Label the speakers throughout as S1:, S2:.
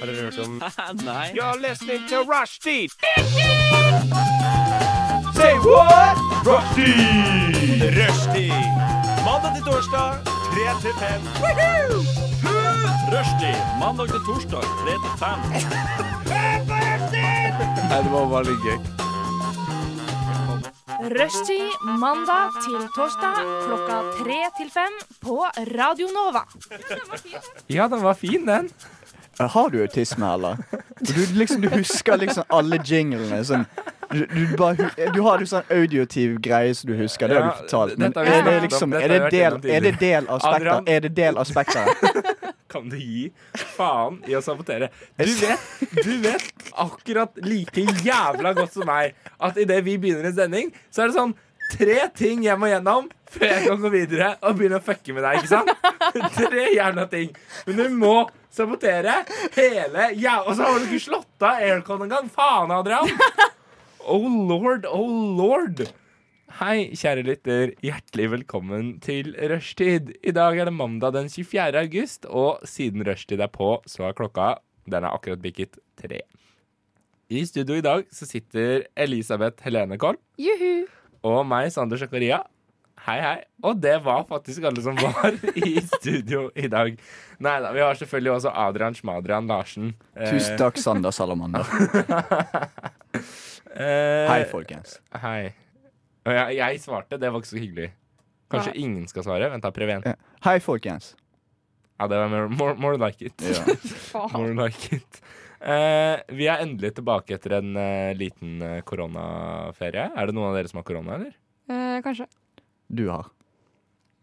S1: Har dere hørt om
S2: Nei.
S3: You're listening to Rushdie. Say what? Rushdie. Rushdie. Mandag til torsdag, 3 til 5.
S2: Rushdie. Mandag til torsdag, 3 til 5.
S4: Rushtid mandag til torsdag klokka tre til fem på Radio Nova.
S1: Ja, den var fin, den.
S5: Har du autisme, eller? Du, liksom, du husker liksom alle jinglene. Sånn. Du, du, bare, hu- du har en sånn audiotiv greie som du husker. Det har
S1: Ja,
S5: du fortalt. Men
S1: dette har vi
S5: er det,
S1: snakket om.
S5: liksom,
S1: Dette
S5: er
S1: har
S5: det,
S1: vi vært
S5: del,
S1: innom
S5: er det del av
S1: Adrian.
S5: spekteret? Er det del av spekteret?
S1: Kan du gi faen i å sabotere? Du vet, du vet akkurat like jævla godt som meg at idet vi begynner en sending, så er det sånn tre ting jeg må gjennom før jeg kan gå videre og begynne å fucke med deg. ikke sant? Tre jævla ting. Men du må sabotere hele jævla Og så har du ikke slått av aircon engang! Faen, Adrian! Oh lord, oh lord. Hei, kjære lytter. Hjertelig velkommen til rushtid. I dag er det mandag den 24. august, og siden rushtid er på, så er klokka Den er akkurat bikket tre. I studio i dag så sitter Elisabeth Helene Kolm
S4: Juhu.
S1: og meg, Sander Zakaria. Hei, hei. Og det var faktisk alle som var i studio i dag. Nei da, vi har selvfølgelig også Adrian Schmadrian Larsen.
S5: Tusen takk, Sander Salamander.
S1: Eh,
S5: Hei, folkens.
S1: Hei. Og jeg, jeg svarte, det var ikke så hyggelig. Kanskje ingen skal svare? Vent da, Preben.
S5: Ja. Hei, folkens.
S1: Ja, det var mer- more, more like it.
S5: Ja.
S1: More like it. Eh, vi er endelig tilbake etter en eh, liten eh, koronaferie. Er det noen av dere som har korona, eller?
S6: Eh, kanskje.
S5: Du har.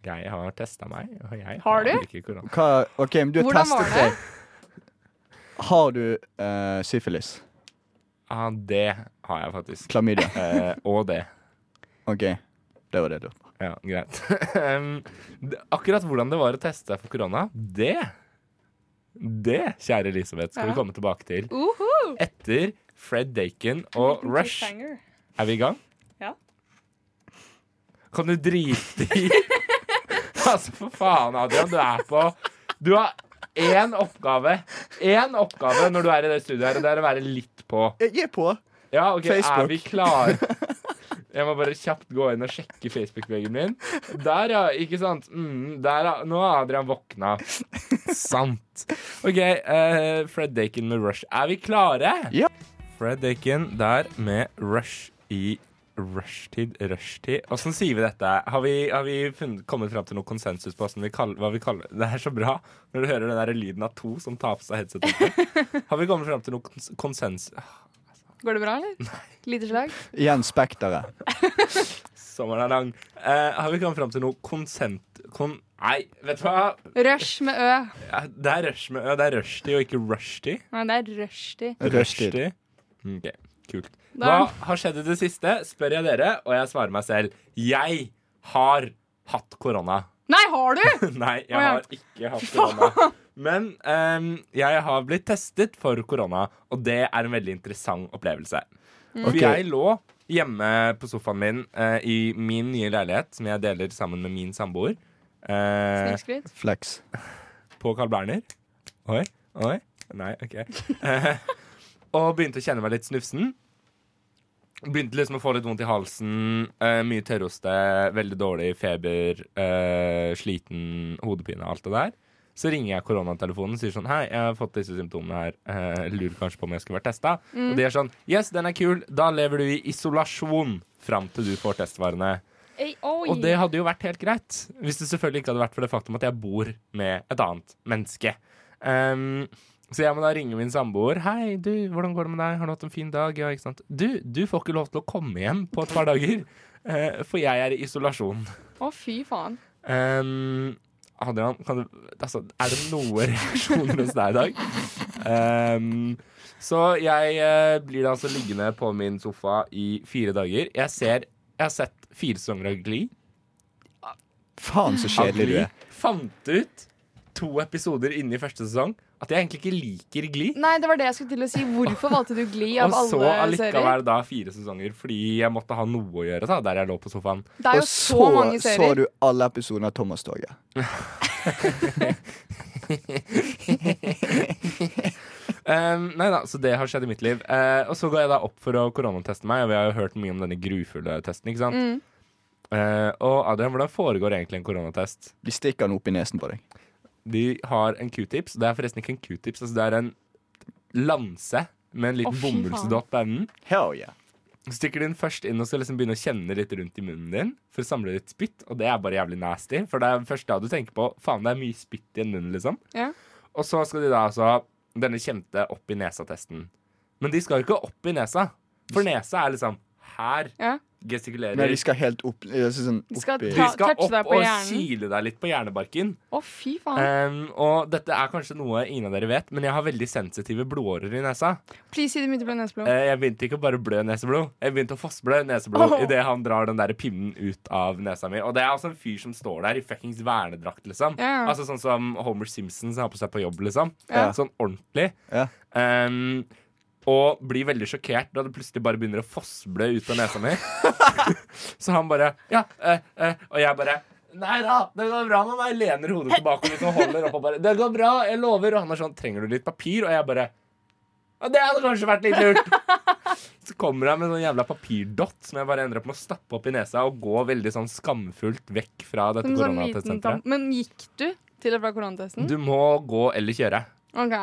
S1: Jeg har testa meg, og jeg
S6: Har du?
S1: ikke korona.
S5: Hva, OK, men du har
S6: Hvordan var
S5: testet
S6: det?
S5: deg. Har du eh, syfilis?
S1: Ja, det har jeg faktisk.
S5: Klamydia?
S1: Eh, og det.
S5: OK, det var det du
S1: Ja, greit. Em, d- akkurat hvordan det var å teste seg for korona, det Det, kjære Elisabeth, skal vi
S6: Ja.
S1: komme tilbake til.
S6: Uhu!
S1: Etter Fred Dakin og Rush. Er vi i gang?
S6: Ja.
S1: Kan du drite i Altså, for faen, Adrian. Du er på Du har én oppgave. Én oppgave når du er i det studioet her, og det er å være litt på.
S5: Jeg er på.
S1: Ja, ok,
S5: Facebook.
S1: er vi klare? Jeg må bare kjapt gå inn og sjekke Facebook-veggen min. Der, ja. Ikke sant? Mm, der, ja. Nå har Adrian våkna. Sant. OK, eh, Fred Dakin med Rush. Er vi klare?
S5: Ja.
S1: Fred Dakin der med Rush i rushtid, rushtid. Åssen sier vi dette? Har vi, har vi funnet, kommet fram til noe konsensus på hvordan vi kaller, hva vi kaller det? er så bra når du hører den der lyden av to som tar på seg headsetet. Har vi kommet fram til noe kons konsens...
S6: Går det bra, eller? Lite slag?
S5: Igjen spekteret.
S1: Sommeren er lang. Eh, har vi kommet fram til noe konsent... Kon... Nei, vet du hva?
S6: Rush med ø.
S1: Ja, Det er rush med ø. Det er rushtid og ikke rushtid.
S6: Nei, det er rushtid.
S5: Rushtid.
S1: Ok, kult. Hva
S6: Da-
S1: har skjedd i det siste, spør jeg dere, og jeg svarer meg selv. Jeg har hatt korona.
S6: Nei, har du?!
S1: Nei, jeg
S6: Å, ja.
S1: har ikke hatt korona. Men ehm, jeg har blitt testet for korona, og det er en veldig interessant opplevelse. For
S6: Mm.
S5: Ok.
S1: jeg lå hjemme på sofaen min eh, i min nye leilighet, som jeg deler sammen med min samboer, eh,
S6: Snikskryt.
S5: Flex.
S1: på Carl Berner. Oi, oi. Nei, OK. Eh, og begynte å kjenne meg litt snufsen. Begynte liksom å få litt vondt i halsen, eh, mye tørroste, veldig dårlig feber, eh, sliten, hodepine, alt det der. Så ringer jeg koronatelefonen og sier sånn Hei, jeg har fått disse symptomene her. Eh, lurer kanskje på om jeg skulle vært testa. Og de er sånn Yes, den er kul. Da lever du i isolasjon fram til du får testvarene.
S4: Ei, oi.
S1: Og det hadde jo vært helt greit, hvis det selvfølgelig ikke hadde vært for det faktum at jeg bor med et annet menneske. Ehm, så jeg må da ringe min samboer. 'Hei, du, hvordan går det med deg? Har du hatt en fin dag?' Ja, ikke sant? Du, du får ikke lov til å komme hjem på et par dager, eh, for jeg er i isolasjon.
S6: Å, fy faen.
S1: Ehm, Adrian, kan du, altså, er det noen reaksjoner hos deg i dag? Ehm, så jeg eh, blir da altså liggende på min sofa i fire dager. Jeg, ser, jeg har sett fire sesonger av Glee.
S5: Faen, så kjedelig du er.
S1: At vi fant ut to episoder inne i første sesong at jeg egentlig ikke liker Glee.
S6: Nei, det var det jeg skulle til å si. Hvorfor valgte du Glee av
S1: Og så
S6: alle serier?
S1: allikevel da fire sesonger, fordi jeg måtte ha noe å gjøre da, der jeg lå på sofaen.
S6: Det er
S5: Og
S6: jo så,
S5: så
S6: mange
S5: så
S6: serier.
S5: du alle episodene av Thomas Toget.
S1: Um, nei da, så det har skjedd i mitt liv. Eh, og så går jeg da opp for å koronateste meg, og vi har jo hørt mye om denne grufulle testen, ikke sant?
S6: Mm.
S1: Eh, og Adrian, hvordan foregår egentlig en koronatest?
S5: De stikker den opp i nesen på deg.
S1: De har en q-tips. Det er forresten ikke en q-tips, altså det er en lanse med en liten
S6: Å, fy
S1: bomullsdott på enden.
S5: Hell yeah.
S1: Stikker den først inn og skal liksom begynne å kjenne litt rundt i munnen din for å samle litt spytt, og det er bare jævlig nasty, for det er først da du tenker på faen, det er mye spytt i en munn, liksom.
S6: Ja.
S1: Og så skal de da altså ha denne kjente opp i nesa-testen. Men de skal jo ikke opp i nesa, for nesa er liksom her.
S6: Ja.
S1: Gestikulerer.
S5: Nei, de skal helt opp, eh, sånn,
S6: De
S5: opp
S6: skal
S5: i
S1: de
S6: ta-
S1: skal
S6: touche
S1: opp
S6: deg på
S1: og
S6: hjernen.
S1: kile deg litt på hjernebarken.
S6: Å, fy faen.
S1: Um, og dette er kanskje noe ingen av dere vet, men jeg har veldig sensitive blodårer i nesa.
S6: Please si det begynte å bli neseblod.
S1: Eh, Jeg begynte ikke å bare blø neseblod, jeg begynte å fossblø neseblod
S6: Åh.
S1: idet han drar den der pinnen ut av nesa mi. Og det er altså en fyr som står der i fuckings vernedrakt, liksom.
S6: Ja.
S1: Altså sånn som Homer Simpson som har på seg på jobb, liksom.
S5: Ja.
S1: Sånn ordentlig.
S5: Ja.
S1: Um, og blir veldig sjokkert da det plutselig bare begynner å fossblø ut av nesa mi. Så han bare Ja, eh, eh, og jeg bare Nei da, det går bra med meg. Lener hodet tilbake litt og holder opp og bare Det går bra, jeg lover. Og han er sånn Trenger du litt papir? Og jeg bare ja, det hadde kanskje vært litt lurt. Så kommer han med en sånn jævla papirdott som jeg bare ender opp med å stappe opp i nesa og gå veldig sånn skamfullt vekk fra dette
S6: Som sånn liten tam-
S1: koronatestsenteret.
S6: Men gikk du til og fra koronatesten?
S1: Du må gå eller kjøre.
S6: OK.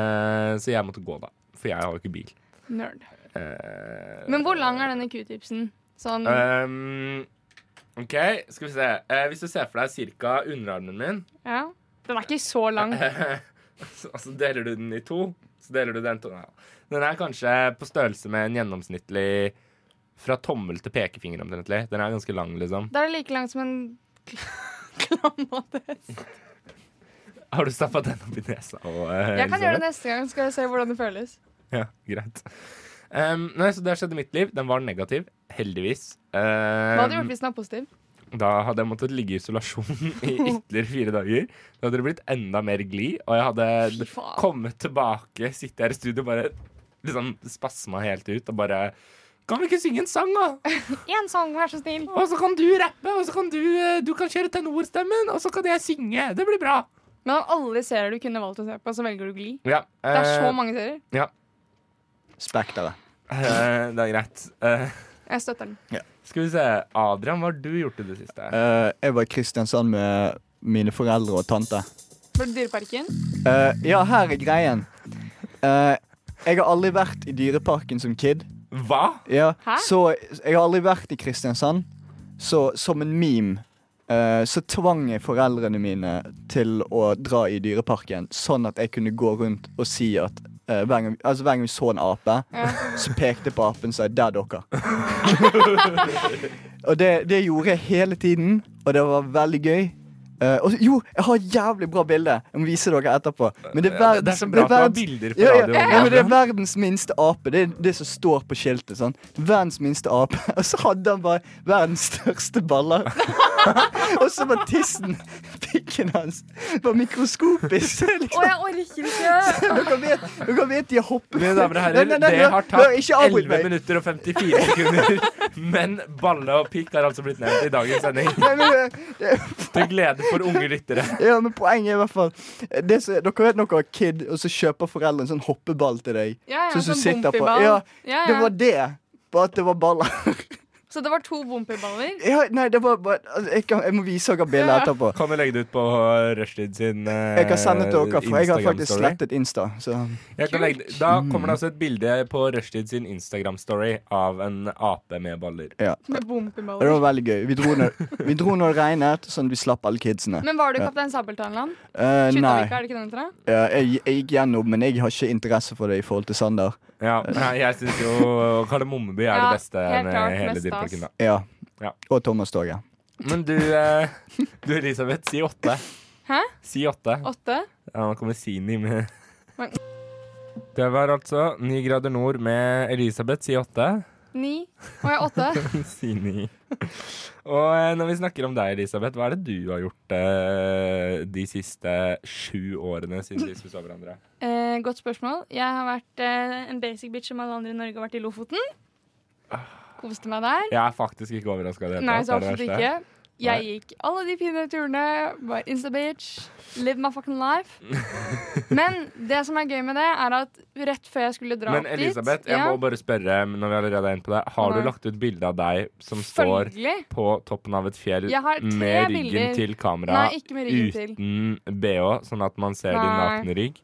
S1: Eh, så jeg måtte gå, da. For jeg har jo ikke bil.
S6: Nerd.
S1: Eh,
S6: Men hvor lang er denne q-tipsen? Sånn
S5: Eh.
S1: ehm, OK, skal vi se. Eh, hvis du ser for deg ca. underarmen min,
S6: Ja. Den er ikke så lang.
S5: Eh,
S1: så altså deler du den i to, så deler du den to. Ja. Den er kanskje på størrelse med en gjennomsnittlig fra tommel til pekefinger omtrentlig. Den er ganske lang, liksom.
S6: Da er det like lang som en klamatest.
S1: Har du stappa den opp i nesa? Og, eh,
S6: Jeg kan
S1: Elisabeth?
S6: gjøre det neste gang, skal jeg se hvordan det føles.
S1: Ja, greit. Em, nei, så Det har skjedd i mitt liv. Den var negativ, heldigvis. Em,
S6: Hva
S5: Um,
S6: hadde du gjort hvis den er positiv?
S1: Da hadde jeg måttet ligge i isolasjon i ytterligere fire dager. Da hadde det blitt enda mer glid, og jeg hadde
S6: Fy faen.
S1: kommet tilbake, sitte her i studio og bare liksom spasma helt ut og bare Kan vi ikke synge en sang, da?
S6: Én sang, vær så snill.
S1: Og så kan du rappe, og så kan du, eh, du kan kjøre tenorstemmen, og så kan jeg synge. Det blir bra.
S6: Men av alle serier du kunne valgt å se på, så velger du Gli.
S1: Ja,
S6: Det er
S1: eh,
S6: så mange serier.
S5: spekteret.
S1: eh, det er greit. Eh,
S6: Jeg støtter den.
S1: skal vi se. Adrian, hva har du gjort i det siste?
S5: Eh, jeg var i Kristiansand med mine foreldre og tante.
S6: Var det Dyreparken?
S5: Eh, ja, her er greien. Eh, jeg har aldri vært i Dyreparken som kid.
S1: Hva?
S5: Ja,
S6: Hæ?
S5: så jeg har aldri vært i Kristiansand. Så som en meme eh, så tvang jeg foreldrene mine til å dra i Dyreparken, sånn at jeg kunne gå rundt og si at eh, hver, gang, altså, hver gang vi så en ape,
S6: Ja.
S5: så pekte jeg på apen og sa 'der, dere'. og det, det gjorde jeg hele tiden, og det var veldig gøy. Eh, og jo, jeg har et jævlig bra bilde. Jeg må vise dere etterpå. Men det er
S1: Ja, det- det er
S5: verdens,
S1: så bra at du har
S5: verdens-
S1: bilder på
S5: ja, ja,
S1: radioen,
S5: ja, men det er
S1: Adrian.
S5: verdens minste ape. Det er det som står på skiltet. Sånn. Verdens minste ape. Og så hadde han bare verdens største baller. og så var tissen, pikken hans, var mikroskopisk. Så jeg
S6: Å,
S5: Liksom.
S6: jeg orker ikke!
S5: Dere vet, dere vet de har hoppet
S1: Mine damer og
S5: Nei,
S1: herrer,
S5: nei, nei,
S1: det
S5: nå-
S1: har
S5: nå,
S1: tatt
S5: ikke avbryt
S1: 11
S5: meg.
S1: minutter og 54 sekunder. Men balle og pikk har altså blitt nevnt i dagens sending.
S5: Nei, men, eh,
S1: Til glede for unge lyttere.
S5: ja, men poenget er i hvert fall det som, Dere vet dere har kid, og så kjøper foreldrene en sånn hoppeball til deg.
S6: Ja, ja,
S5: Sånn som
S6: sånn
S5: sitter på-
S6: bompiball.
S5: ja,
S6: ja,
S5: Det
S6: ja.
S5: var det, bare at det var baller.
S6: Så det var to bompiballer?
S5: Ja, nei, det var bare altså, jeg, kan, jeg må vise dere bildet
S6: Ja.
S5: etterpå.
S1: Kan du legge det ut på Rushtid sin eh,
S5: Jeg kan sende til dere, for jeg har faktisk
S1: Instagram-story?
S5: slettet Insta. Så.
S1: Jeg kan legge, da kommer det altså et bilde på Rushtid sin Instagram-story av en ape med baller.
S6: Med
S5: Og det
S6: bompiballer.
S5: var veldig gøy. Vi dro når, vi dro når det regnet, sånn at vi slapp alle kidsene.
S6: Men var du Kaptein Sabeltannland?
S5: Eh, nei.
S6: Kjuttaviga, er det ikke den heter? da?
S5: Ja, jeg, jeg gikk gjennom, men jeg har ikke interesse for det i forhold til Sander.
S1: Ja, nei, jeg syns jo Kardemommeby er
S6: Ja,
S1: det beste
S6: helt
S1: med
S6: klart,
S1: hele
S6: mest
S1: Dyreparken, da.
S5: Ja.
S1: Ja.
S5: Og Thomas Toget.
S1: Men du, eh, du Elisabeth, si åtte.
S6: Hæ?
S1: Si åtte.
S6: Åtte?
S1: Ja, nå kommer Sini med
S6: Men-
S1: Det var altså Ni grader nord med Elisabeth, si åtte.
S6: Ni? Å ja, åtte.
S1: Sini. Og eh, når vi snakker om deg, Elisabeth, hva er det du har gjort eh, de siste sju årene siden sist vi så hverandre?
S6: Eh, godt spørsmål. Jeg har vært eh, en basic bitch som alle andre i Norge har vært i Lofoten. Koste meg der.
S1: Jeg er faktisk ikke overraska.
S6: Nei, så absolutt ikke. Jeg gikk alle de fine turene, var insta-bitch, live my fucking life. Men det som er gøy med det, er at rett før jeg skulle dra
S1: Men
S6: opp
S1: Elisabeth,
S6: dit
S1: jeg må bare spørre når vi allerede er inne på det. Har du
S6: Hva?
S1: lagt ut bilde av deg som står
S6: Følgelig.
S1: på toppen av et fjell
S6: Jeg har tre
S1: med ryggen
S6: bilder.
S1: til kamera
S6: Nei, ikke med ryggen til.
S1: uten bh, sånn at man ser din
S6: Nei.
S1: nakne rygg?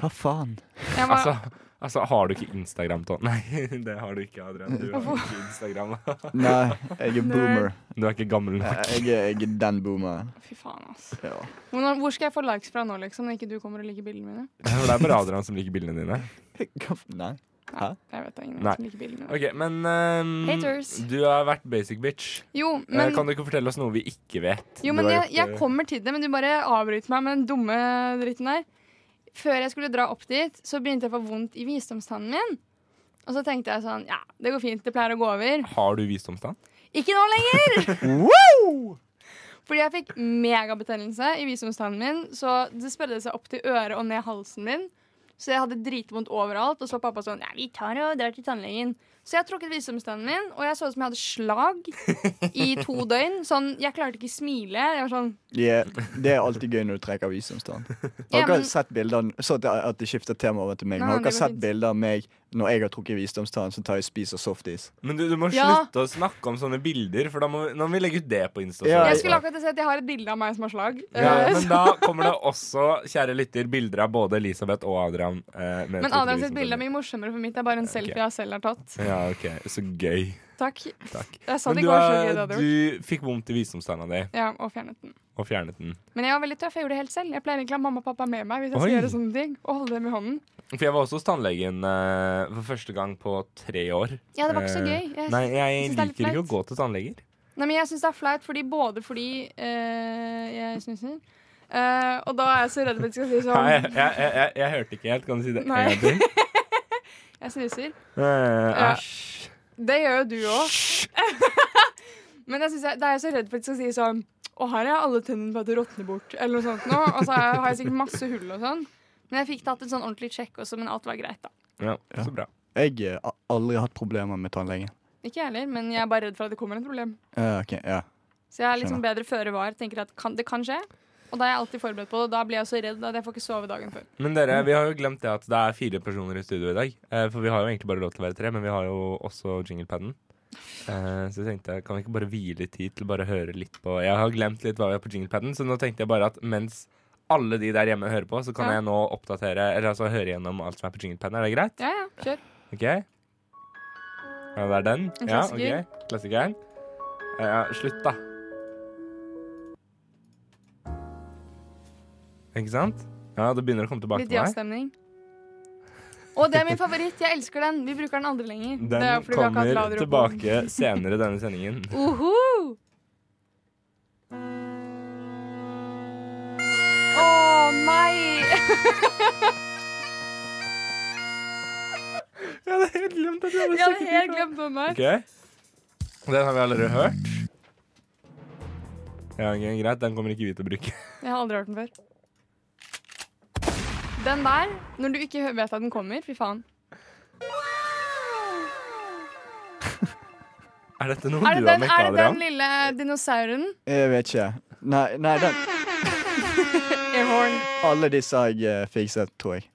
S5: Hva faen?
S6: Jeg var,
S1: Altså, altså, har du ikke Instagram, Tom? Nei, det har du ikke, Adrian. Du har ikke Instagram.
S5: Nei, jeg er boomer. Eh,
S1: Du er ikke gammel nok.
S5: Jeg er, jeg er den boomeren.
S6: Fy faen, ass.
S5: Ja.
S6: Hvor, hvor skal jeg få likes fra nå, liksom, når ikke du kommer og liker bildene mine?
S1: For det er bare Adrian som liker bildene dine.
S5: Hva f- Nei.
S6: Nei,
S5: Hæ?
S6: jeg vet da ingen
S1: Nei.
S6: som liker bildene mine.
S1: Ok, Men ehm,
S6: Haters.
S1: du har vært basic bitch.
S6: Jo,
S1: Eh,
S6: men,
S1: kan du ikke fortelle oss noe vi ikke vet?
S6: jo,
S1: Du
S6: men
S1: har
S6: jeg,
S1: gjort, eh,
S6: jeg kommer til det, men du bare avbryter meg med den dumme dritten der. Før jeg skulle dra opp dit, så begynte jeg å få vondt i visdomstannen min. Og så tenkte jeg sånn, ja, det går fint, det pleier å gå over.
S1: eh, Har du visdomstann?
S6: Ikke nå lenger! Fordi jeg fikk megabetennelse i visdomstannen min, så det spredde seg opp til øret og ned halsen min. Så jeg hadde dritvondt overalt, og så var pappa sånn Ja, vi tar og drar til tannlegen. Så jeg trukket visdomstannen min, og jeg så ut som jeg hadde slag i to døgn. Sånn, Jeg klarte ikke smile. Jeg var sånn
S5: Yeah. Det er alltid gøy når du trekker visdomstann. Har
S6: Ja,
S5: dere
S6: men-
S5: sett bilder Så at at det skifter tema over til meg. Men har
S6: Nei, det
S5: dere
S6: går
S5: sett
S6: fint.
S5: bilder av meg når jeg har trukket visdomstann, så tar jeg og spiser softis?
S1: Men du, du må
S6: Ja.
S1: slutte å snakke om sånne bilder, for da må, vi- nå må vi legge ut det på Insta.
S5: Ja,
S6: Jeg skulle akkurat si at jeg har et bilde av meg som har slag.
S1: Ja,
S6: Eh,
S1: men
S6: så-
S1: da kommer det også, kjære lytter, bilder av både Elisabeth og Adrian. eh, med
S6: men
S1: to
S6: Adrian sitt
S1: visdomstann.
S6: bilde er mye morsommere, for mitt er bare en selfie jeg selv har tatt.
S1: Ja, ok, Så gøy.
S6: Takk.
S1: Takk.
S6: Jeg sa
S1: Men
S6: det
S1: du,
S6: ikke var så gøy det
S1: er-
S6: hadde gjort.
S1: du fikk vondt i visdomstanna di
S6: Ja, og fjernet den.
S1: og fjernet den.
S6: Men jeg var veldig tøff. Jeg gjorde det helt selv. Jeg pleier egentlig å ha mamma og pappa med meg hvis jeg skal
S1: Oi.
S6: gjøre sånne ting. Og holde dem i hånden.
S1: For jeg var også hos tannlegen eh, for første gang på tre år.
S6: Ja, det var ikke
S1: Eh,
S6: så gøy. Jeg,
S1: Nei,
S6: nei.
S1: jeg
S6: synes det er litt
S1: liker ikke å gå
S6: flaut.
S1: til tannleger.
S6: men jeg syns det er flaut, fordi, både fordi eh, jeg snuser, eh, og da er jeg så redd for at de skal si
S1: Nei,
S6: sånn
S1: jeg, jeg, jeg, jeg, jeg hørte ikke helt. Kan du si det
S6: Nei.
S1: en gang til?
S6: Jeg snuser.
S1: Eh, Æsj.
S6: Det gjør jo du òg. men jeg, synes jeg, da er jeg så redd for at de skal si sånn Og her er alle tennene på at det råtner bort, eller noe sånt nå. Og så er- har jeg sikkert masse hull og sånn. Men jeg fikk tatt en sånn ordentlig sjekk også, men alt var greit, da.
S1: Ja, så bra.
S5: Jeg eh, har aldri hatt problemer med tannlegen.
S6: Ikke jeg heller, men jeg er bare redd for at det kommer et problem.
S5: Eh, ok, ja.
S6: Så jeg er liksom bedre føre var. Tenker at kan, det kan skje. Og da er jeg alltid forberedt på det. og Da blir jeg så redd at jeg får ikke sove dagen før.
S1: Men dere, vi har jo glemt det at det er fire personer i studio i dag. Eh, for vi har jo egentlig bare lov til å være tre, men vi har jo også jinglepaden. Eh, så jeg tenkte, kan vi ikke bare hvile litt tid til å bare høre litt på Jeg har glemt litt hva vi har på jinglepaden, så nå tenkte jeg bare at mens alle de der hjemme hører på, så kan
S6: Ja.
S1: jeg nå oppdatere Eller altså høre gjennom alt som er på jinglepaden. Er det greit?
S6: Ja, ja, kjør.
S1: OK? Ja, det er den?
S6: En
S1: Ja,
S6: klassiker.
S1: ok. Klassikeren. Eh, Ja, slutt, da. Ikke sant? Ja, det begynner å komme tilbake
S6: Litt
S1: til meg.
S6: ja-stemning. Og det er min favoritt. Jeg elsker den. Vi bruker den aldri lenger. det er
S1: Den
S6: fordi vi har ikke hatt
S1: kommer
S6: radio på den.
S1: tilbake senere i denne sendingen.
S6: Uhu! Å nei!
S1: Jeg hadde helt glemt at jeg
S6: Jeg hadde helt glemt den der.
S1: Den har vi allerede hørt. Ja, ok, Greit, den kommer ikke vi til å bruke.
S6: Jeg har aldri hørt den før. Den der, når du ikke hø- vet at den kommer, fy faen.
S1: Er dette noe
S6: Er
S1: du
S6: det
S1: har
S6: den,
S1: mekka,
S6: er det den
S1: Adrian?
S6: lille dinosauren?
S5: Jeg vet ikke. Nei, nei den,
S6: Airhorn.
S5: alle disse har jeg eh, fikset, tror jeg.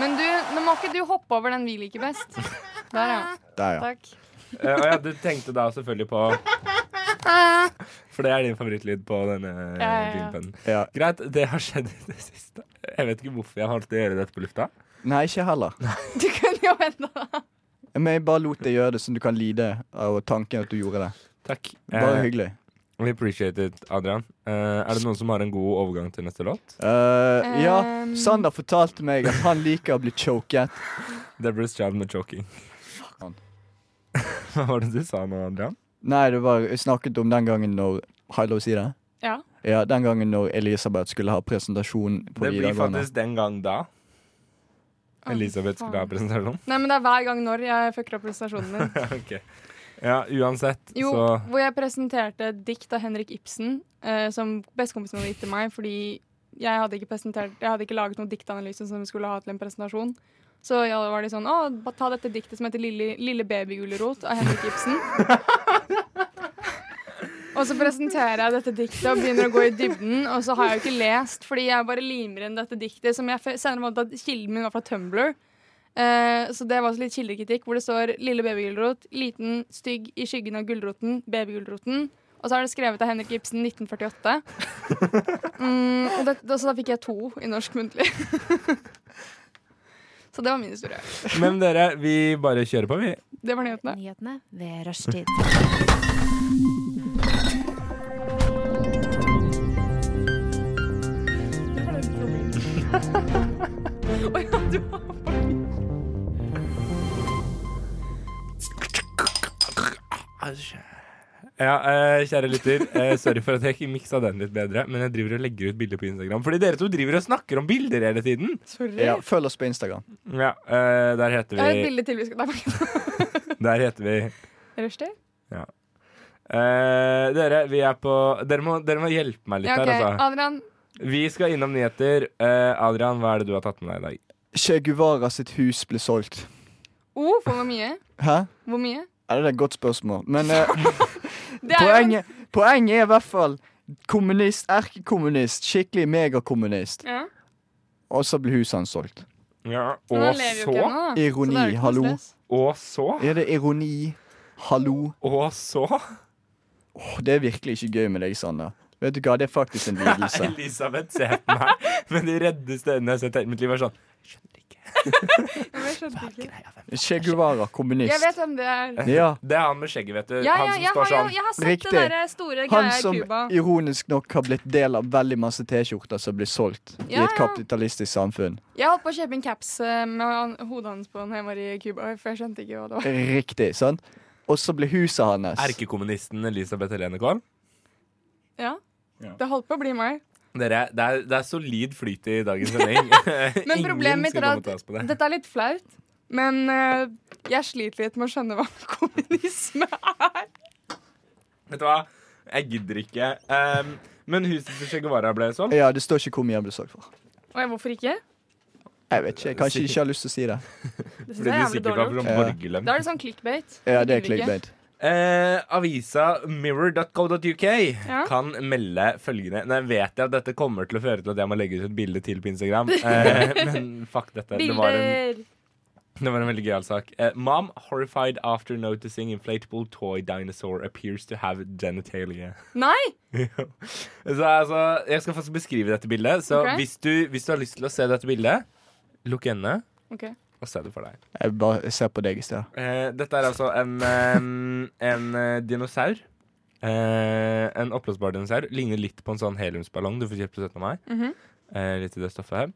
S6: Men du, nå må ikke du hoppe over den vi liker best. Der, ja.
S5: Der, ja.
S6: Takk.
S1: Eh, og ja, du tenkte da selvfølgelig på For det er din favorittlyd på denne
S6: Ja, ja, ja.
S1: jinglepennen.
S5: ja.
S1: Greit, det har skjedd i det siste. Jeg vet ikke hvorfor jeg valgte å gjøre dette på lufta.
S5: Nei, ikke heller.
S6: Du kunne jo vente da.
S5: Men jeg bare lot deg gjøre det, så du kan lide av tanken at du gjorde det.
S1: Takk.
S5: Bare
S1: Eh,
S5: hyggelig.
S1: we appreciate it, Adrian. Eh, er det noen som har en god overgang til neste låt?
S5: Eh, ja,
S6: Ehm.
S5: Sander fortalte meg at han liker å bli choket.
S1: Deborah's Child med Choking. Hva var det du sa nå, Adrian?
S5: Nei, det var jeg snakket om den gangen når Har jeg lov å si det?
S6: Ja.
S5: Ja, den gangen når Elisabeth skulle ha presentasjon på
S1: Det blir
S5: videregående.
S1: faktisk den gang da. Elisabeth skulle ha presentasjon.
S6: Nei, men det er hver gang når jeg fucker opp prestasjonen min.
S1: Ok. Ja, uansett,
S6: Jo,
S1: så
S6: hvor jeg presenterte et dikt av Henrik Ibsen, eh, som bestekompisen hadde gitt til meg, fordi jeg hadde ikke, presentert, jeg hadde ikke laget noen diktanalyse som vi skulle ha til en presentasjon. Så ja, da var de sånn, å, ba- ta dette diktet som heter Lille, Lille babygulrot av Henrik Ibsen. Og så presenterer jeg dette diktet og begynner å gå i dybden, og så har jeg jo ikke lest, fordi jeg bare limer inn dette diktet, som jeg f- senere fant at kilden min var fra Tumblr. Eh, så det var også litt kildekritikk, hvor det står 'Lille babygulrot, liten, stygg, i skyggen av gulroten, babygulroten'. Og så er det skrevet av Henrik Ibsen 1948. Mm, og det, da, så da fikk jeg to i norsk muntlig. så det var min historie.
S1: Men dere, vi bare kjører på, vi.
S6: Det var nyhetene.
S4: Nyhetene ved rushtid.
S1: Ja, eh, kjære lytter, eh, sorry for at jeg ikke miksa den litt bedre, men jeg driver og legger ut bilder på Instagram. Fordi dere to driver og snakker om bilder hele tiden.
S6: Sorry.
S5: Ja, følg oss på Instagram.
S1: Ja, eh, der heter
S6: Jeg har et
S1: vi
S6: bilde til vi skal
S1: Der heter vi
S6: Rushdie?
S1: eh, Dere, vi er på Dere må, dere må hjelpe meg litt
S6: Ja, ok.
S1: her, altså.
S6: Adrian,
S1: Vi skal innom nyheter. Eh, Adrian, hva er det du har tatt med deg i dag?
S5: Che Guevara sitt hus ble solgt.
S6: oh, for hvor mye?
S5: Hæ?
S6: Hvor mye?
S5: Er det er et godt spørsmål? Men eh,
S6: Det er jo en-
S5: poenget, poenget er i hvert fall kommunist, erkekommunist, skikkelig megakommunist.
S6: sånn- Ja.
S5: Og så ble huset hans solgt.
S1: Ja,
S6: Men han
S1: og
S6: lever jo
S1: så,
S6: ikke ennå, da.
S5: Ironi,
S6: Så da er det ikke noe
S5: hallo.
S6: stress.
S1: og så,
S5: Er det ironi? Hallo?
S1: og så
S5: Åh, det er virkelig ikke gøy med deg, Sander. Vet du hva, det er faktisk en lidelse.
S1: Elisabeth ser på meg med de reddeste øynene jeg har sett i hele mitt liv. Er sånn
S6: Ja, men Jeg skjønte ikke.
S5: Che Guevara,
S6: Jeg
S5: kommunist.
S6: vet hvem det er.
S5: Ja,
S1: Det er han med skjegget, vet du.
S6: Ja, ja,
S1: han
S6: jeg,
S1: som
S6: har,
S1: står
S6: jo-
S1: sånn.
S6: jeg har sett
S5: Riktig.
S6: den der eh, store
S5: han
S6: greia i
S5: som
S6: Cuba.
S5: ironisk nok har blitt del av veldig masse T-skjorter som blir solgt i
S6: Ja,
S5: et
S6: ja.
S5: kapitalistisk samfunn.
S6: Jeg holdt på å kjøpe en caps eh, med han- hodet hans på når jeg var i Cuba, for jeg skjønte ikke hva det var.
S5: Riktig, sant? Og så blir huset hans
S1: sånn. Erkekommunisten Elisabeth Helene Kvam.
S6: Ja. Det holdt på å bli meg.
S1: Dere, det er, det er solid flyt i dagens sending.
S6: Men problemet mitt er
S1: komme
S6: at-
S1: til oss på det.
S6: Dette er litt flaut, men eh, jeg sliter litt med å skjønne hva kommunisme er.
S1: Vet du hva? Jeg gidder ikke. Ehm, men huset til Che Guevara ble solgt.
S5: Ja, det står ikke hvor mye han ble solgt for.
S6: Oi, hvorfor ikke?
S5: Jeg vet ikke, jeg kanskje ikke har lyst til å si det.
S6: Det
S1: Fordi
S6: synes jeg er
S1: du
S6: jævlig
S1: sikkert var
S6: dårlig. gjort.
S1: sånn
S5: Ja.
S1: borgerlønn.
S6: Da er det sånn clickbait.
S5: Ja, det er
S6: liker vi ikke.
S5: clickbait.
S1: Eh, avisa mirror.co.uk
S6: Ja.
S1: kan melde følgende Nå vet jeg at dette kommer til å føre til at jeg må legge ut et bilde til på Instagram, eh, men fuck dette. Det var en
S6: Bilder!
S1: Det var en veldig gøyal sak. Eh, Mom horrified after noticing inflatable toy dinosaur appears to have genitalia.
S6: Nei!
S1: Så altså, Jeg skal faktisk beskrive dette bildet. Så
S6: Ok.
S1: hvis, du, hvis du har lyst til å se dette bildet, lukk øynene
S6: Ok.
S1: og se det for deg.
S5: Jeg bare ser på deg i stedet.
S1: Eh, dette er altså en, eh, en eh, dinosaur. Eh, en oppblåsbar dinosaur. Ligner litt på en sånn heliumsballong du får kjøpt på 17. mai.
S6: Mhm.
S1: eh, litt i det stoffet her.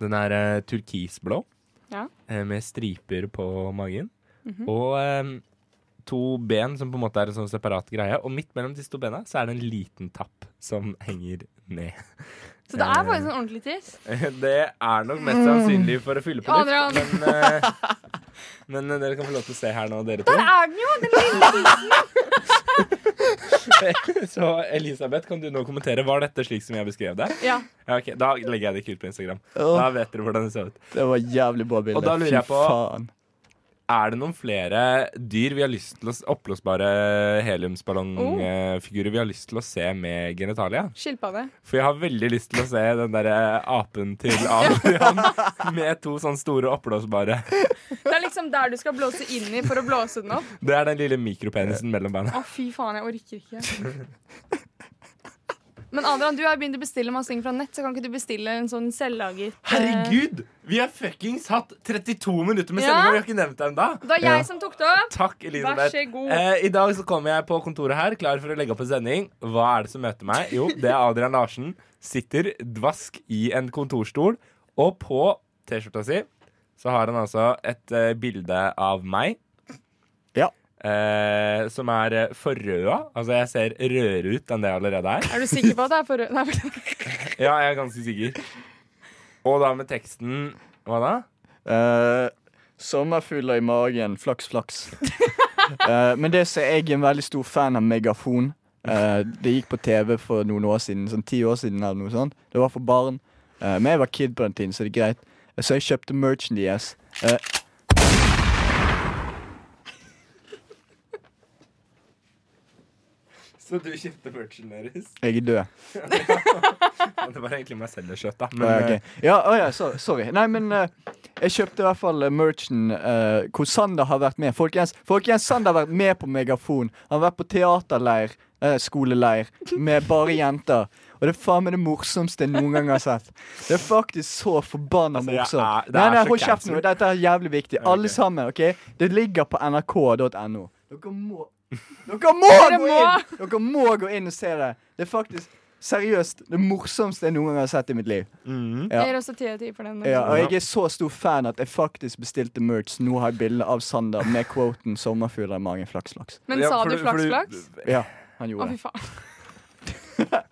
S1: Den er eh, turkisblå
S6: Ja.
S1: eh, med striper på magen. Og eh, to ben som på en måte er en sånn separat greie. Og midt mellom disse to bena så er det en liten tapp som henger ned.
S6: Så det er faktisk en ordentlig tiss.
S1: Det er nok mest sannsynlig for å fylle på
S6: Adrian.
S1: litt. Men, eh, men eh, dere kan få lov til å se her nå, dere to.
S6: Der er den jo! Den lille
S1: Så Elisabeth, kan du nå kommentere Var dette slik som jeg beskrev det?
S6: Ja.
S1: Ja, ok, Da legger jeg det ikke ut på Instagram.
S5: Åh.
S1: Da vet dere hvordan det ser ut.
S5: Det var jævlig bra bilde.
S1: Og da lurer jeg på-
S5: Fy faen.
S1: Er det noen flere dyr vi har lyst til å s- oppblåsbare
S6: Oh.
S1: heliumsballongfigurer vi har lyst til å se med genitalia?
S6: Skilpadde.
S1: For jeg har veldig lyst til å se den derre apen til Adrian med to sånne store oppblåsbare
S6: Det er liksom der du skal blåse inn i for å blåse den opp.
S1: Det er den lille mikropenisen mellom beina.
S6: Å, fy faen, jeg orker ikke. Men Adrian, du har begynt å bestille masse ting fra nett, så kan ikke du bestille en sånn selvlaget eh,
S1: Herregud! Vi har fuckings hatt 32 minutter med
S6: Ja.
S1: sending, og vi har ikke nevnt det ennå.
S6: Det var
S5: Ja.
S6: jeg som tok det opp!
S1: Takk, Elisabeth.
S6: Vær så god.
S1: Eh, I dag så kommer jeg på kontoret her, klar for å legge opp en sending. Hva er det som møter meg? Jo, det er Adrian Larsen. Sitter dvask i en kontorstol, og på T-skjorta si så har han altså et eh, bilde av meg.
S5: Ja.
S1: Eh, som er eh, forrøda. Altså, jeg ser rødere ut enn det jeg allerede er.
S6: Er du sikker på at det er for Nei, beklager.
S1: Ja, jeg er ganske sikker. Og da med teksten Hva da?
S5: Eh, sommerfugler i magen, flaks, flaks. Eh, men det som jeg er en veldig stor fan av megafon. Eh, det gikk på TV for noen år siden, sånn ti år siden eller noe sånt. Det var for barn. Eh, men jeg var kid på den tiden, så det er greit. Så jeg kjøpte merchandise. Eh,
S1: Så du kjøpte merchen deres?
S5: Jeg er død.
S1: Det var egentlig meg selv jeg skjøt, da. eh,
S5: Å, ja, ok. ja, å, ja, so, sorry. Nei, men eh, jeg kjøpte i hvert fall eh, merchen eh, hvor Sander har vært med. Folkens, folkens, Sander har vært med på megafon. Han har vært på teaterleir, eh, skoleleir, med bare jenter. Og det er faen meg det morsomste jeg noen gang har sett. Det er faktisk så forbanna
S1: Altså, jeg er-
S5: morsomt.
S1: det
S5: Nei,
S1: er
S5: nei,
S1: så
S5: hold kjeft
S1: cancel.
S5: nå. Dette er jævlig viktig. Alle sammen, OK? Det ligger på nrk.no. Dere må Dere må
S6: Dere
S5: gå
S6: må.
S5: inn! Dere må gå inn og se det. Det er faktisk seriøst det morsomste jeg noen gang har sett i mitt liv. Ja.
S6: Jeg gir også ti av ti for den. eh?
S5: Ja, og jeg er så stor fan at jeg faktisk bestilte merch. Nå har jeg bilde av Sander med quoten 'Sommerfugler i magen flaks-flaks'.
S6: Men
S1: Ja,
S6: sa
S1: for
S6: du
S1: for
S6: flaks, flaks?
S5: Ja, han
S6: Å,
S5: gjorde
S6: fy
S5: det.
S6: faen.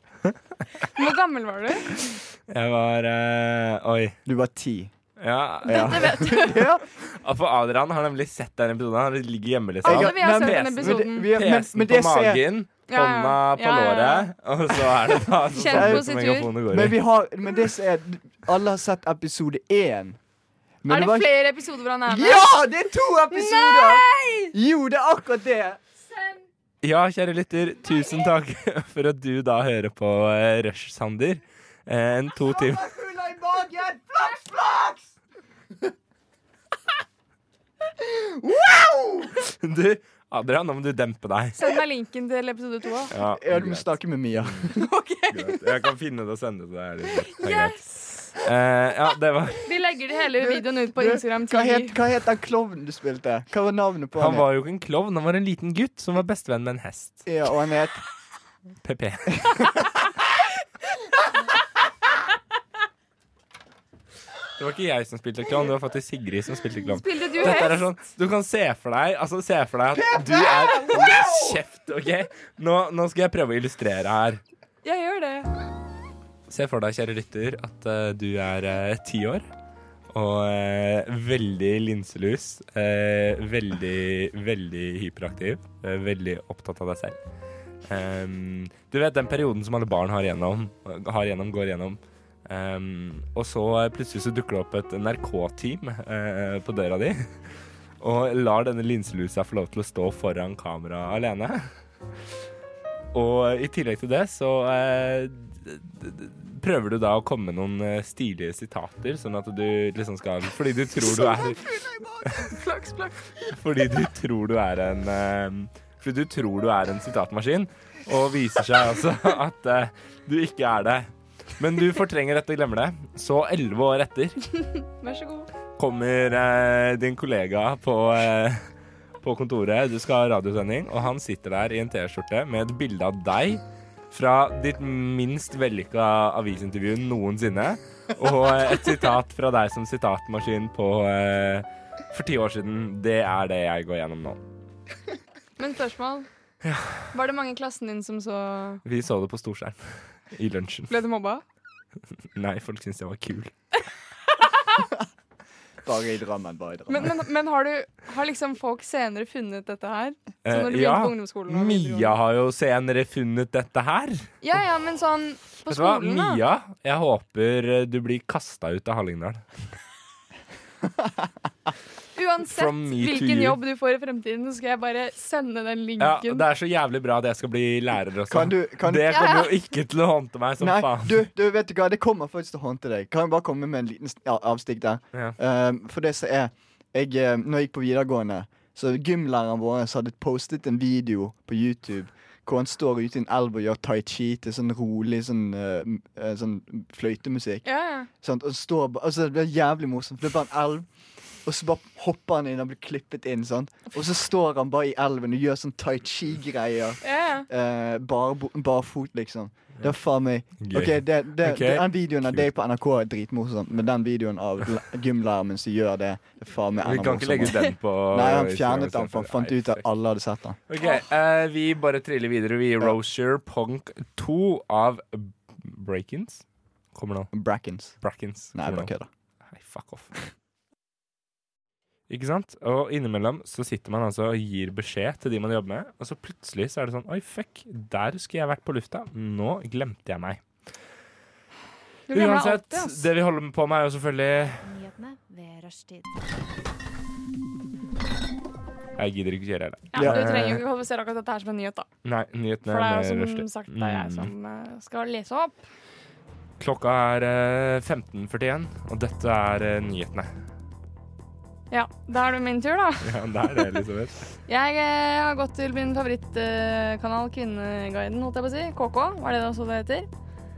S6: Hvor gammel var du?
S1: Jeg var eh, Oi.
S5: Du var ti.
S1: Ja.
S5: Ja.
S6: Det vet du.
S5: Ja,
S1: Og For Adrian har nemlig sett den episoden. Han ligger hjemme, liksom.
S6: Alle
S5: jeg-
S6: vi har
S5: men-
S6: sett den
S1: men-
S5: men det-
S6: episoden.
S5: vi- men-
S1: PC-en
S5: men
S1: på
S5: det ser-
S1: magen,
S6: Ja, ja.
S1: hånda på
S6: Ja, ja, ja.
S1: låret, og så er det da så-
S6: Kjenn
S1: sånn
S6: på
S1: som
S6: sin tur.
S1: megafonen går i.
S5: Men vi har Men det som er Alle har sett episode én. Men
S6: Er det
S5: var-
S6: flere episoder hvor han er med?
S5: Ja! Det er to episoder! Jo, det er akkurat det.
S1: Ja, kjære lytter, tusen takk for at du da hører på eh, Rush Sander. Eh, En to timer
S5: Sommerfugler i magen flaks, flaks!
S1: Du, Adrian, nå må du dempe deg.
S6: Send meg linken til episode to. da.
S1: Ja,
S5: Ja, du må
S1: greit,
S5: snakke med Mia.
S1: greit. Jeg kan finne det og sende det til deg. Det er greit.
S6: Yes!
S1: Eh, ja, det var
S6: Vi legger det hele videoen ut på Instagram.
S5: Hva
S6: TV.
S5: het, hva het den klovnen du spilte? Hva var navnet på
S1: Han
S5: han?
S1: var jo ikke en klovn, han var en liten gutt som var bestevenn med en hest.
S5: Ja, og han het
S1: PP. Det var ikke jeg som spilte klovn, det var faktisk Sigrid som spilte klovn.
S6: Spilte du
S1: Dette er
S6: hest?
S1: sånn, du kan se for deg Altså se for deg at du er Hold Kjeft, ok nå, nå skal jeg prøve å illustrere her
S6: Jeg gjør det.
S1: Se for deg, kjære lytter, at eh, du er eh, ti år Og eh, veldig linselus eh, Veldig, veldig hyperaktiv eh, Veldig opptatt av deg selv Em, Du vet den perioden som alle barn har gjennom Har gjennom, går gjennom Em, og så eh, plutselig så dukker det opp et NRK-team eh, på døra di og lar denne linselusa få lov til å stå foran kamera alene. Og i tillegg til det så eh, d- d- d- prøver du da å komme med noen eh, stilige sitater, sånn at du liksom skal Fordi du tror du er
S6: Flaks, flaks.
S1: Fordi du tror du er en eh, Fordi du tror du er en sitatmaskin, og viser seg altså at eh, du ikke er det. Men du fortrenger dette og glemmer det. Så elleve år etter
S6: Vær så god.
S1: kommer eh, din kollega på, eh, på kontoret. Du skal ha radiosending, og han sitter der i en T-skjorte med et bilde av deg fra ditt minst vellykka avisintervju noensinne. Og eh, et sitat fra deg som sitatmaskin på eh, for ti år siden. Det er det jeg går gjennom nå.
S6: Men spørsmål. Var det mange i klassen din som så
S1: Vi så det på storskjerm i lunsjen.
S6: Ble du mobba?
S1: Nei, folk syntes jeg var kul.
S5: Bare i Drammen, bare i Drammen.
S6: Men, men, men har, du, har liksom folk senere funnet dette her? Så når
S1: Eh,
S6: du begynte
S1: ja,
S6: på ungdomsskolen og
S1: Mia
S6: videregående?
S1: har jo senere funnet dette her.
S6: Ja, ja, men sånn på
S1: Vet du hva,
S6: skolen, da.
S1: Mia, jeg håper eh, du blir kasta ut av Hallingdal.
S6: Uansett
S1: From me to
S6: hvilken
S1: you.
S6: jobb du får i fremtiden, så skal jeg bare sende den
S1: Ja,
S6: linken.
S1: det er så jævlig bra at jeg skal bli lærer også.
S5: Kan du- kan-
S1: det kommer jo ikke til å håndte meg som
S5: Nei,
S1: faen.
S5: du, du, vet du hva, det kommer faktisk til å håndte deg. Kan jeg bare komme med en liten s- ja, avstikk der?
S1: Ja.
S5: Ehm, for det som er jeg, eh, Når jeg gikk på videregående, så gymlæreren vår så hadde postet en video på YouTube hvor han står ute i en elv og gjør tai chi til sånn rolig sånn, eh, m- eh, sånn fløytemusikk.
S6: Ja, ja.
S5: Sant? Og står, ba- altså, det blir jævlig morsomt, for det er bare en elv. Og så bare hopper han inn og blir klippet inn. Sant? Og så står han bare i elven og gjør sånn tai chi-greier.
S6: ja, ja.
S5: Eh, barbo- barfot, liksom. Det er faen meg
S1: Gøy.
S5: Ok, det, det,
S1: Ok,
S5: Den videoen av
S1: kult.
S5: deg på NRK er dritmorsom, men den videoen av l- gymlæreren min som gjør det, det er faen meg
S1: Vi
S5: enda
S1: kan ikke legge ut
S5: morsommere.
S1: den på
S5: Nei, han fjernet den, for han fant ut at alle hadde sett den.
S1: Ok, eh, Vi bare triller videre. Vi gir Rosier Punk 2 av Breakins. Kommer nå.
S5: Brackens.
S1: Brackins.
S5: Nei,
S1: kommer
S5: bare
S1: nå.
S5: kødda.
S1: Nei, fuck off. Ikke sant? Og innimellom så sitter man altså og gir beskjed til de man jobber med, og så plutselig så er det sånn Oi, fuck, der skulle jeg vært på lufta. Nå glemte jeg meg.
S6: Du glemmer deg
S1: Uansett,
S6: alltid, ass.
S1: det vi holder på med, er jo selvfølgelig
S7: Nyhetene ved rushtid.
S1: Eh, Jeg gidder ikke kjøre heller.
S6: Ja,
S5: Ja.
S6: Du trenger jo ikke kvalifisere akkurat dette her som en nyhet, da.
S1: Nei, nyhetene
S6: For det er
S1: er Mm.
S6: jo som
S1: rushtid.
S6: sagt det er jeg som eh, skal lese opp.
S1: Klokka er eh, 15.41, og dette er eh, nyhetene.
S6: Ja, da er det min tur, da.
S1: Ja, det er det, Elisabeth.
S6: Jeg eh, har gått til min favorittkanal, eh, Kvinneguiden, holdt jeg på å si. KK, var det det også det heter?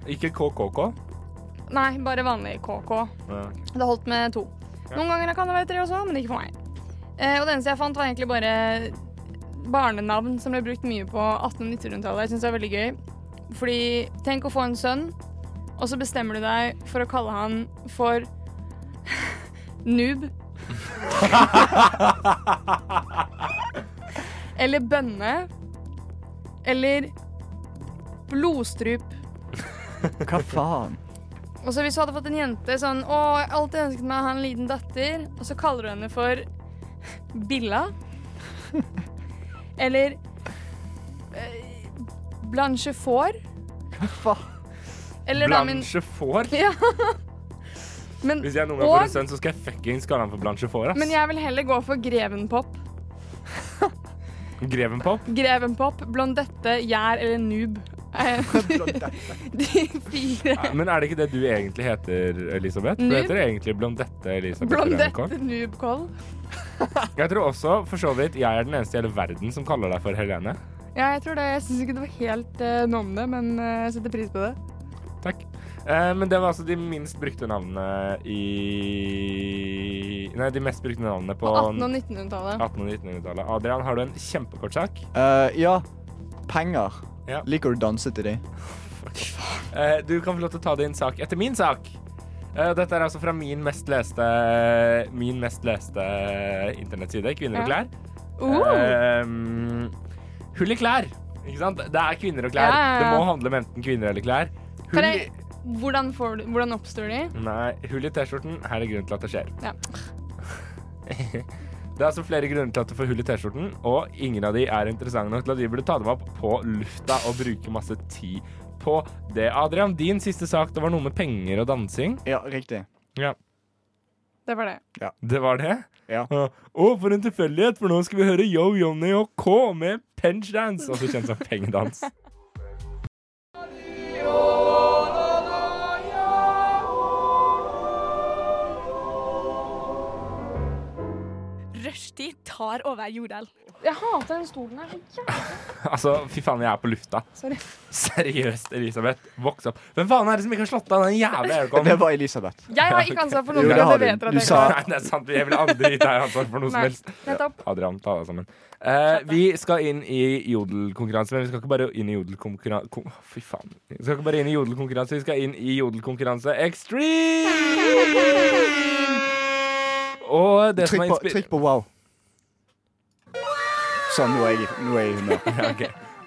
S1: Ikke KKK.
S6: Nei, bare vanlig KK. Det holdt med to. Noen ganger kan det være tre også, men ikke for meg. Eh, og det eneste jeg fant, var egentlig bare barnenavn som ble brukt mye på 1800- og 1900-tallet. Jeg syns det er veldig gøy. Fordi tenk å få en sønn, og så bestemmer du deg for å kalle han for noob. eller bønne. Eller blodstrup.
S5: Hva faen?
S6: Og så hvis du hadde fått en jente sånn Å, jeg har alltid ønsket meg å ha en liten datter. Og så kaller du henne for Billa. Eller eh, Blanche Får.
S5: Hva faen?
S6: Eller da min
S1: Blanche får.
S6: Ja. Men,
S1: Hvis jeg noen gang får
S6: og-
S1: en sønn, så skal jeg fuckings kalle han for Blanche får, ass.
S6: men jeg vil heller gå for Grevenpop.
S1: Grevenpop.
S6: Grevenpop, Blondette, Gjær eller Noob. Eh, De fire.
S1: Ja, Men er det ikke det du egentlig heter, Elisabeth? Du
S6: Noob.
S1: heter egentlig Blondette Elisabeth
S6: Blondette
S1: Rønnekoll.
S6: Noobkoll.
S1: Jeg tror også, for så vidt, jeg er den eneste i hele verden som kaller deg for Helene.
S6: Ja, jeg tror det. Jeg syns ikke det var helt eh, noe om det, men eh, jeg setter pris på det.
S1: Takk. Eh, men det var altså de minst brukte navnene i Nei, de mest brukte navnene på,
S6: På 1800- og 1900-tallet.
S1: 1800- og 1900-tallet. Adrian, har du en kjempekort sak?
S5: Eh, ja, penger.
S1: Ja.
S5: Liker du å danse til de?
S1: Eh, du kan få lov til å ta din sak etter min sak. Eh, dette er altså fra min mest leste Min mest leste internettside, Kvinner og
S6: Ja.
S1: klær.
S6: Oh.
S1: Eh, hull i klær. Ikke sant? Det er kvinner og klær.
S6: Ja, ja, ja.
S1: Det må handle om enten kvinner eller klær.
S6: Kan
S1: Hull i
S6: jeg, hvordan, får du, hvordan oppstår de?
S1: Nei, hull i T-skjorten. Her er grunnen til at det skjer.
S6: Ja.
S1: Det er altså flere grunner til at du får hull i T-skjorten, og ingen av de er interessante nok til at vi burde ta dem opp på lufta og bruke masse tid på det. Adrian, din siste sak, det var noe med penger og dansing.
S5: Ja, riktig.
S6: Det var det.
S1: Det var det?
S5: Ja.
S1: Å, for en tilfeldighet, for nå skal vi høre Yo Johnny og K med Penchdance, også kjent som pengedans.
S7: Rushtid tar over Jordal.
S6: Jeg hater den stolen her.
S1: Altså, fy faen, jeg er på lufta.
S6: Sorry.
S1: Seriøst, Elisabeth. Voks opp. Hvem faen er det som ikke har slått av den jævla Aircon?
S5: Det var Elisabeth.
S6: Jeg har ikke ansvar for
S5: Jo,
S6: noen
S5: det har
S6: ting.
S5: du.
S6: Det vet dere at
S5: Du
S6: jeg
S5: sa-
S6: ikke har.
S1: Nei, det er sant. Jeg vil aldri gi deg ansvar for noe som
S6: Nei,
S1: helst.
S6: nettopp.
S1: Adrian, ta deg sammen. Eh, vi skal inn i jodelkonkurranse, men vi skal ikke bare inn i jodelkonkurranse kom- Fy faen. Vi skal ikke bare inn i jodelkonkurranse, vi skal inn i jodelkonkurranse extreme! Og det som
S5: Trykk
S1: er
S5: på,
S1: inspir-
S5: trykk på wow. Sånn, nå er jeg, i- nå er jeg i humør.
S1: Ja, ok.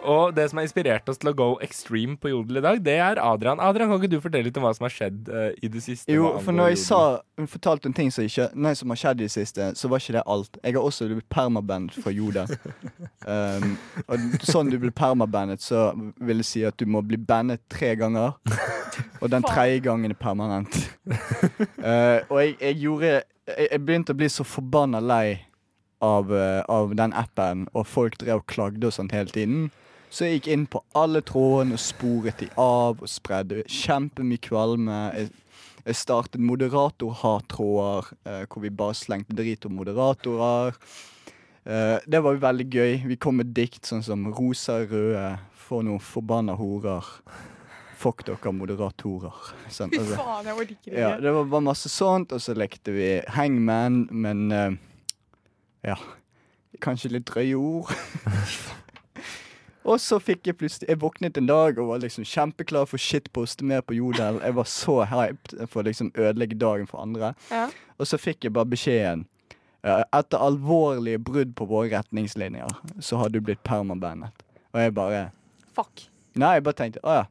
S1: Og det som har inspirert oss til å go extreme på jodel i dag, det er Adrian. Adrian, kan ikke du fortelle litt om hva som har skjedd eh, i det siste?
S5: Jo,
S1: hva
S5: for
S1: angår
S5: når jeg
S1: jodel?
S5: sa, hun fortalte en ting som, ikke, nei, som har skjedd i det siste, så var ikke det alt. Jeg har også blitt permabandet fra Joda. Um, og sånn du blir permabandet, så vil det si at du må bli bandet tre ganger. Og den tredje gangen er permanent. Uh, og jeg, jeg gjorde jeg, jeg begynte å bli så forbanna lei av, uh, av den appen, og folk drev og klagde og sånt hele tiden. Så jeg gikk inn på alle trådene og sporet de av og spredde kjempemye kvalme. Jeg jeg startet moderatorhattråder, eh, hvor vi bare slengte drit om moderatorer. Eh, det var jo veldig gøy. Vi kom med dikt sånn som 'Rosa røde, for noen forbanna horer'. Fuck dere moderatorer. Sånn,
S6: Fy
S5: altså.
S6: faen, jeg orker ikke.
S5: Ja, det var bare masse sånt, og så lekte vi hangman, men eh, ja, kanskje litt drøye ord. og så fikk jeg plutselig, jeg våknet en dag og var liksom kjempeklar for å shitposte mer på Jodel. Jeg var så hyped for å liksom ødelegge dagen for andre.
S6: Ja.
S5: Og så fikk jeg bare beskjeden. eh, Etter alvorlige brudd på våre retningslinjer, så har du blitt permabandet. Og jeg bare
S6: Fuck.
S5: Nei, jeg bare tenkte å ja.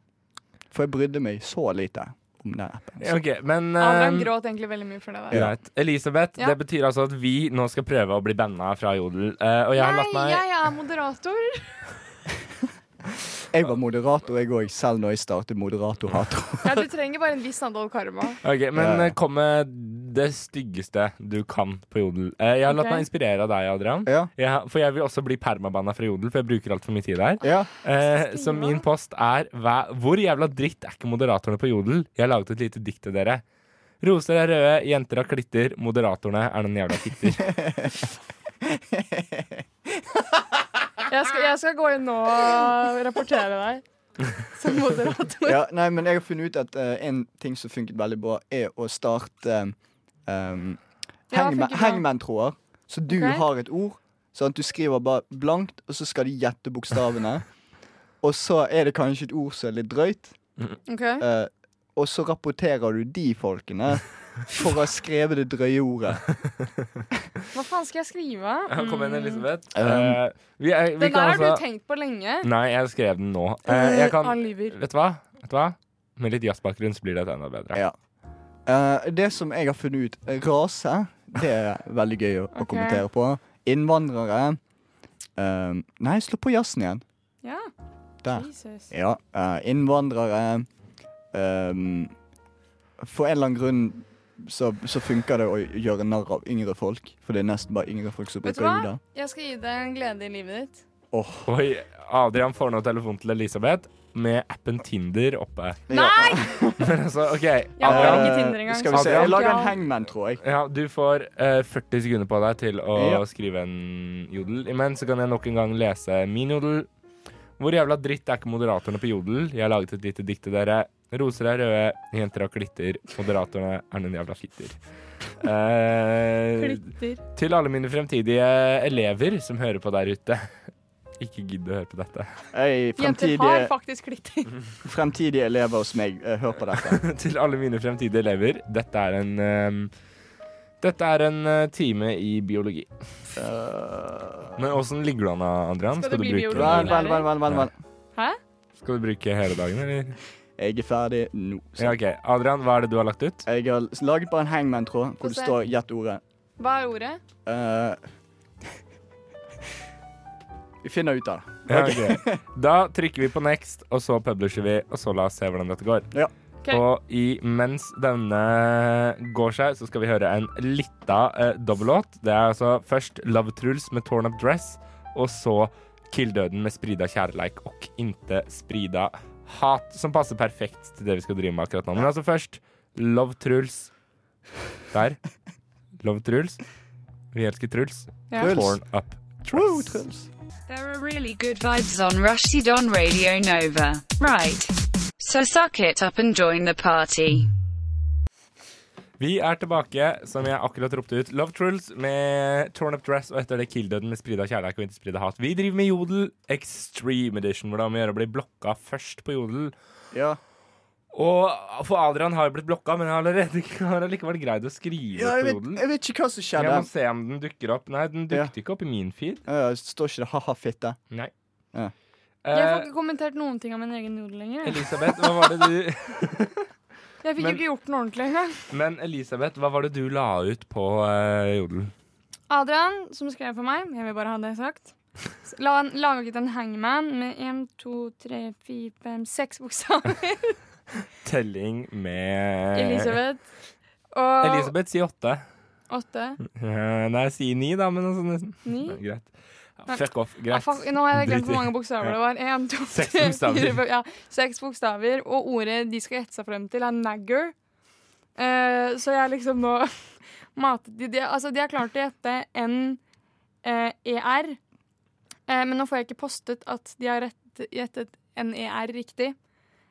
S5: For jeg brydde meg så lite om den appen.
S1: Ja, Ok, men
S6: Adrian
S1: eh,
S6: gråt egentlig veldig mye for det der.
S1: Greit. Elisabeth,
S6: Ja.
S1: det betyr altså at vi nå skal prøve å bli banna fra Jodel. eh, og jeg har
S6: Nei,
S1: latt meg
S6: jeg er moderator.
S5: Jeg var moderator, jeg òg, selv når jeg startet moderatorhator.
S6: Ja, du trenger bare en viss andel karma.
S1: Ok, Men
S5: Ja.
S1: eh, kom med det styggeste du kan på Jodel. Eh, Jeg har latt
S6: Ok.
S1: meg inspirere av deg, Adrian.
S5: Ja.
S1: Ja, for jeg vil også bli permabanna fra Jodel, for jeg bruker altfor mye tid der.
S5: ja.
S1: Eh, så min post er hva, Hvor jævla dritt er ikke moderatorene på Jodel? Jeg har laget et lite dikt til dere. Roser er røde, jenter har klitter, moderatorene er noen jævla fitter.
S6: Jeg skal, jeg skal gå inn nå og rapportere deg som moderator.
S5: ja. Nei, men jeg har funnet ut at eh, en ting som funket veldig bra, er å starte um,
S6: Ja, funker
S5: hangman-
S6: bra.
S5: hangman-tråder. Så du
S6: Ok.
S5: har et ord, sånn at du skriver bare blankt, og så skal de gjette bokstavene. og så er det kanskje et ord som er litt drøyt,
S6: Ok.
S5: eh, og så rapporterer du de folkene for å ha skrevet det drøye ordet.
S6: Hva faen skal jeg skrive? Mm.
S1: Kom igjen, Elisabeth.
S5: Um,
S1: Eh, vi er, vi
S6: Den der
S1: kan
S6: har du
S1: altså
S6: tenkt på lenge.
S1: Nei, jeg skrev den nå. Eh, jeg kan
S6: Han lyver.
S1: Vet du hva? Vet du hva? Med litt jazzbakgrunn så blir det enda bedre.
S5: Ja. Eh, det som jeg har funnet ut Rase, det er veldig gøy å, å
S6: Ok.
S5: kommentere på. Innvandrere eh, Nei, slå på jazzen igjen.
S6: Ja.
S5: Der.
S6: Jesus.
S5: Ja. eh, innvandrere ehm, For en eller annen grunn så, så funker det å gjøre narr av yngre folk. For det er nesten bare yngre folk som
S6: Vet du
S5: bruker
S6: hva?
S5: ordet.
S6: Jeg skal gi deg en glede i livet ditt.
S1: Oi, Adrian får nå telefon til Elisabeth med appen Tinder oppe.
S6: Nei!
S1: Men altså, OK.
S6: Jeg har
S1: Adrian,
S6: ikke Tinder engang.
S5: Eh, skal vi se, Jeg
S1: Adrian?
S5: lager en
S6: Ja.
S5: hangman, tror jeg.
S1: ja, du får eh, 40 sekunder på deg til å
S5: Ja.
S1: skrive en jodel. Imens så kan jeg nok en gang lese min jodel. Hvor jævla dritt er ikke moderatorene på jodel? Jeg har laget et lite dikt til dere. Roser er røde, jenter har glitter. Moderatorene er noen jævla fitter. Eh,
S6: Klitter.
S1: til alle mine fremtidige elever som hører på der ute. Ikke gidd å høre på dette.
S5: Hey,
S6: Jenter har
S5: fremtidige,
S6: faktisk klitter.
S1: Mhm.
S5: fremtidige elever hos meg, eh, hør på dette.
S1: til alle mine fremtidige elever. Dette er en ehm, Dette er en eh, time i biologi. Men åssen ligger du an, Adrian?
S6: Skal det bli
S1: bruke,
S6: biologi?
S5: Eh, Vel, vel, vel, vel, vel, vel.
S6: Hæ?
S1: skal du bruke hele dagen, eller?
S5: Jeg er ferdig nå. Så
S1: Ja, OK. Adrian, hva er det du har lagt ut?
S5: Jeg har laget bare en hangman-tråd
S6: Få
S5: hvor det
S6: se.
S5: står 'gjett ordet'.
S6: Hva er ordet?
S5: Eh, vi finner ut av det.
S1: Ja, ok. Da trykker vi på next, og så publisher vi, og så la oss se hvordan dette går.
S5: Ja.
S6: Ok.
S1: Og imens denne går seg, så skal vi høre en lita eh, dobbellåt. Det er altså først Love Truls med Torn Up Dress, og så Killdøden med Sprida kjærleik og inte sprida hat, som passer perfekt til det vi skal drive med akkurat nå. Men altså først Love Truls. Der. Love Truls. Vi elsker Truls.
S6: Ja.
S5: Truls.
S1: Torn Up
S5: Woo,
S1: Dress.
S5: Truls.
S8: There are really good vibes on Rushdie on Radio Nova. Right. So suck it up and join the party.
S1: Vi er tilbake, som jeg akkurat ropte ut. Love Trolls med Torn Up Dress og etter det Killdøden med Sprida kjærleik og ikke sprida hat. Vi driver med Jodel Extreme Edition, hvor det er om å gjøre å bli blokka først på Jodel.
S5: Ja.
S1: Og for Adrian har jo blitt blokka, men har allerede har allikevel greid å skrive
S5: ja
S1: på
S5: jeg, vet,
S1: Jodel.
S5: jeg vet ikke hva som
S1: Jeg
S5: skjedde.
S1: må se om den dukker opp. Nei, den dukket ikke opp i min feed.
S5: Eh, står ikke det 'ha-ha, fitte'?
S1: Nei.
S5: Ja.
S6: Jeg får
S1: Eh,
S6: ikke kommentert noen ting av min egen jodel lenger.
S1: Elisabeth, hva var det du
S6: Jeg fikk jo
S1: Men-
S6: ikke gjort den ordentlig engang.
S1: Men Elisabeth, hva var det du la ut på eh, Jodel?
S6: Adrian, som skrev for meg, jeg vil bare ha det sagt, s- la han laget en hangman med én, to, tre, fire, fem, seks bokstaver.
S1: Telling med
S6: Elisabeth. Og
S1: Eh, Elisabeth sier åtte.
S6: åtte,
S1: Eh, Nei, si ni, da, men altså nesten.
S6: ni
S1: Ja, Greit. Ja,
S6: Nei.
S1: fuck off.
S6: Ah,
S1: Greit.
S6: fuck, nå har
S1: Drit
S6: jeg
S1: i.
S6: glemt hvor mange bokstaver det var. En, to,
S1: Seks
S6: tre,
S1: bokstaver.
S6: fire, fem, ja, seks bokstaver. Og ordet de skal gjette seg frem til, er nagger. Eh, så jeg liksom nå matet de, de Altså, de har klart å gjette eh, N-E-R, Eh, men nå får jeg ikke postet at de har rett, gjettet N-E-R riktig.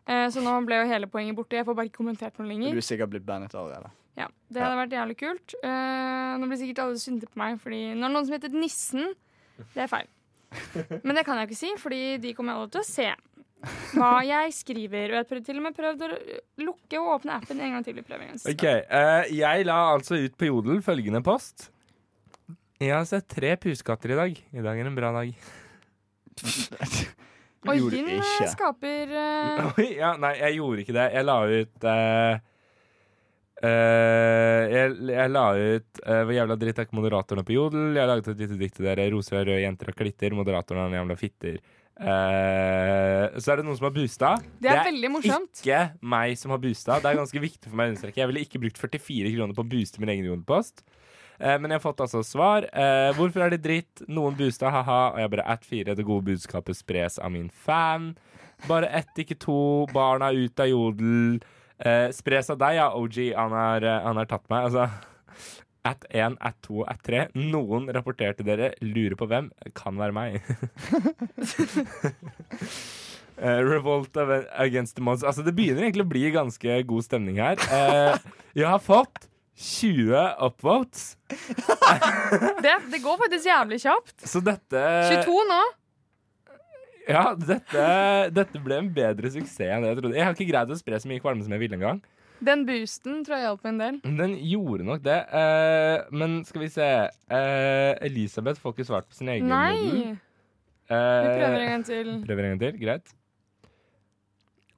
S6: Eh, så nå ble jo hele poenget borte. Jeg får bare ikke kommentert noe
S5: Du
S6: lenger.
S5: er sikkert blitt bandet allerede.
S6: Ja, Det hadde vært jævlig kult. Eh, nå blir sikkert alle sinte på meg, fordi nå er det noen som heter Nissen. Det er feil. Men det kan jeg ikke si, fordi de kommer alle til å se hva jeg skriver. Og jeg prøvde til og med prøvd å lukke og åpne appen en gang til. i prøvingen.
S1: Ok, eh, Jeg la altså ut på Jodel følgende post. Jeg har sett tre pusekatter i dag. I dag er en bra dag.
S6: Og
S5: Gjorde
S6: Yin eh,
S5: ikke.
S6: skaper eh,
S1: Oi, ja, nei, jeg gjorde ikke det. Jeg la ut eh, eh, jeg, jeg la ut eh, Hvor jævla dritt er ikke moderatorene på Jodel? Jeg laget et lite dikt til dere. Roser er røde, jenter har klitter. Moderatorene er jævla fitter. Eh, så er det noen som har boosta.
S6: Det er veldig morsomt.
S1: ikke meg som har boosta. Det er ganske viktig for meg å understreke. Jeg ville ikke brukt 44 kroner på å booste min egen Jonepost. Eh, men jeg har fått altså svar. Eh, hvorfor er det dritt? Noen boosta, ha-ha. Og jeg bare at fire. Det gode budskapet spres av min fan. Bare ett, ikke to. Barna ut av jodel. Eh, spres av deg, ja, OG. Han har, eh, han har tatt meg. Altså At 1, at 2, at 3. Noen rapporterte dere. Lurer på hvem. Kan være meg. Eh, revolt av- against the monster. Altså, det begynner egentlig å bli ganske god stemning her. Eh, jeg har fått 20 upvotes,
S6: Det, det går faktisk jævlig kjapt.
S1: så
S5: Eh.
S1: dette
S6: 22 nå.
S1: Ja, dette, dette ble en bedre suksess enn det jeg trodde. Jeg har ikke greid å spre så mye kvalme som jeg ville engang.
S6: Den boosten tror jeg hjalp en del.
S1: Men Den gjorde nok det. Eh, men skal vi se eh, Elisabeth får ikke svart på sin egen. Eh,
S6: Nei! Vi prøver
S5: Eh.
S6: en gang til.
S1: Prøver en gang til, greit.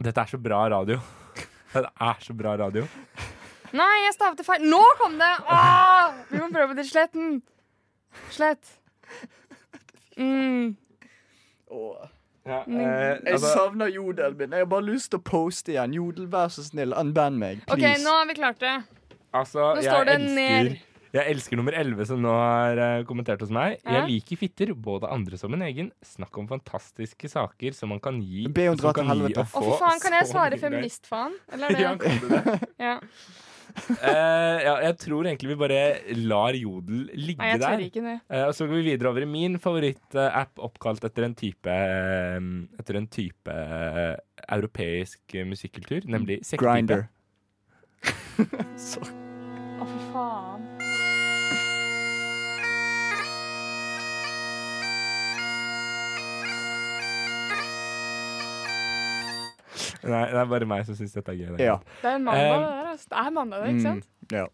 S1: Dette er så bra radio. Dette er så bra radio.
S6: Nei, jeg stavte feil. Nå kom det! Åh! Vi må prøve til sletten. Slett. Mm.
S1: Ja, eh, altså,
S6: Men-
S5: Jeg savner jodelen min. Jeg har bare lyst til å poste igjen. Jodel, vær så snill, unband meg.
S6: OK,
S5: Please.
S6: nå har vi klart det.
S1: Altså,
S6: Nå
S1: jeg
S6: står det
S1: elsker,
S6: ned.
S1: Jeg elsker nummer 11, som nå har eh, kommentert hos meg.
S6: Hæ?
S1: Jeg liker fitter, både andre som en egen. Snakk om fantastiske saker som man kan gi
S5: Be henne
S1: som
S5: dra
S1: kan
S5: til
S1: gi
S5: helvete.
S1: og
S5: Å,
S6: Å,
S1: få
S6: for faen, kan jeg
S1: så
S6: svare
S1: mye.
S6: feministfaen? Eller
S1: Ja,
S6: er det?
S1: kan du det?
S6: Ja.
S1: Eh, ja, jeg tror egentlig vi bare lar jodel ligge
S6: Nei, jeg
S1: der.
S6: tør ikke det.
S1: Eh, og så går vi videre over i min favorittapp oppkalt etter en type eh, Etter en type eh, europeisk eh, musikkultur, nemlig sekkepipe.
S5: Grinder.
S6: Å, for faen.
S1: Nei, det er bare meg som syns dette er gøy. det er
S5: Ja.
S6: Det er mandag,
S1: Um,
S6: det der. Altså. Det er mandag, det, ikke sant?
S5: Mm, ja.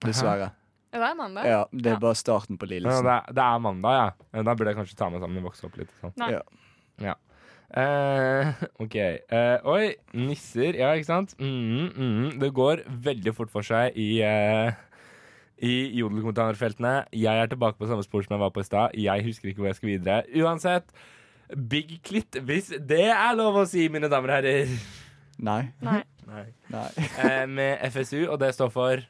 S5: Dessverre.
S6: Ja, det er mandag.
S5: Ja, det er bare starten på
S1: Ja,
S5: lidelsen.
S1: det, er, det er mandag, ja. Ja, Da burde jeg kanskje ta meg sammen og vokse opp litt. Sånn.
S6: Nei.
S5: Ja.
S1: Ja. Eh, OK. Eh, oi, nisser. Ja, ikke sant? Mm, mm, det går veldig fort for seg i uh, i jodelkommentarfeltene. Jeg er tilbake på samme spor som jeg var på i stad. Jeg husker ikke hvor jeg skal videre. Uansett, big klitt, hvis det er lov å si, mine damer og herrer.
S5: Nei.
S6: Nei.
S5: Nei.
S1: Eh, med FSU, og det står for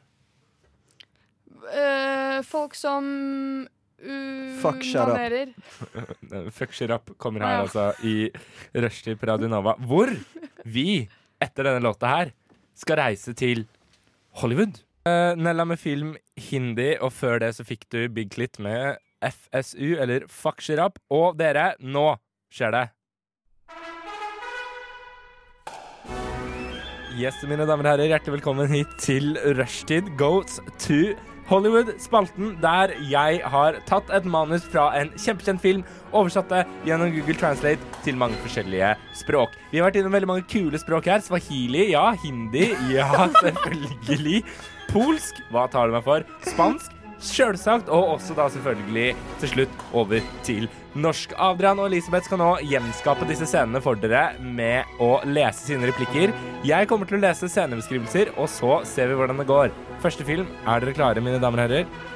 S6: Eh, folk som
S5: Fuck, shut up.
S6: unanerer.
S1: Eh, Fuck shit up kommer her altså i rushtid på Radio Nova. Hvor vi, etter denne låta her, skal reise til Hollywood. Eh, Nella med film Hindi, og før det så fikk du Big Clit med FSU, eller Fuck shit up. Og dere, nå skjer det. Yes, mine damer og herrer, hjertelig velkommen hit til Rushtid Goes to Hollywood, spalten der jeg har tatt et manus fra en kjempekjent film, oversatt det gjennom Google Translate til mange forskjellige språk. Vi har vært innom veldig mange kule språk her. Swahili, ja. Hindi, ja, selvfølgelig. Polsk, hva tar du meg for? Spansk, selvsagt. Og også da selvfølgelig til slutt over til norsk. Adrian og Elisabeth skal nå gjenskape disse scenene for dere med å lese sine replikker. Jeg kommer til å lese scenebeskrivelser, og så ser vi hvordan det går. Første film. Er dere klare, mine damer og herrer?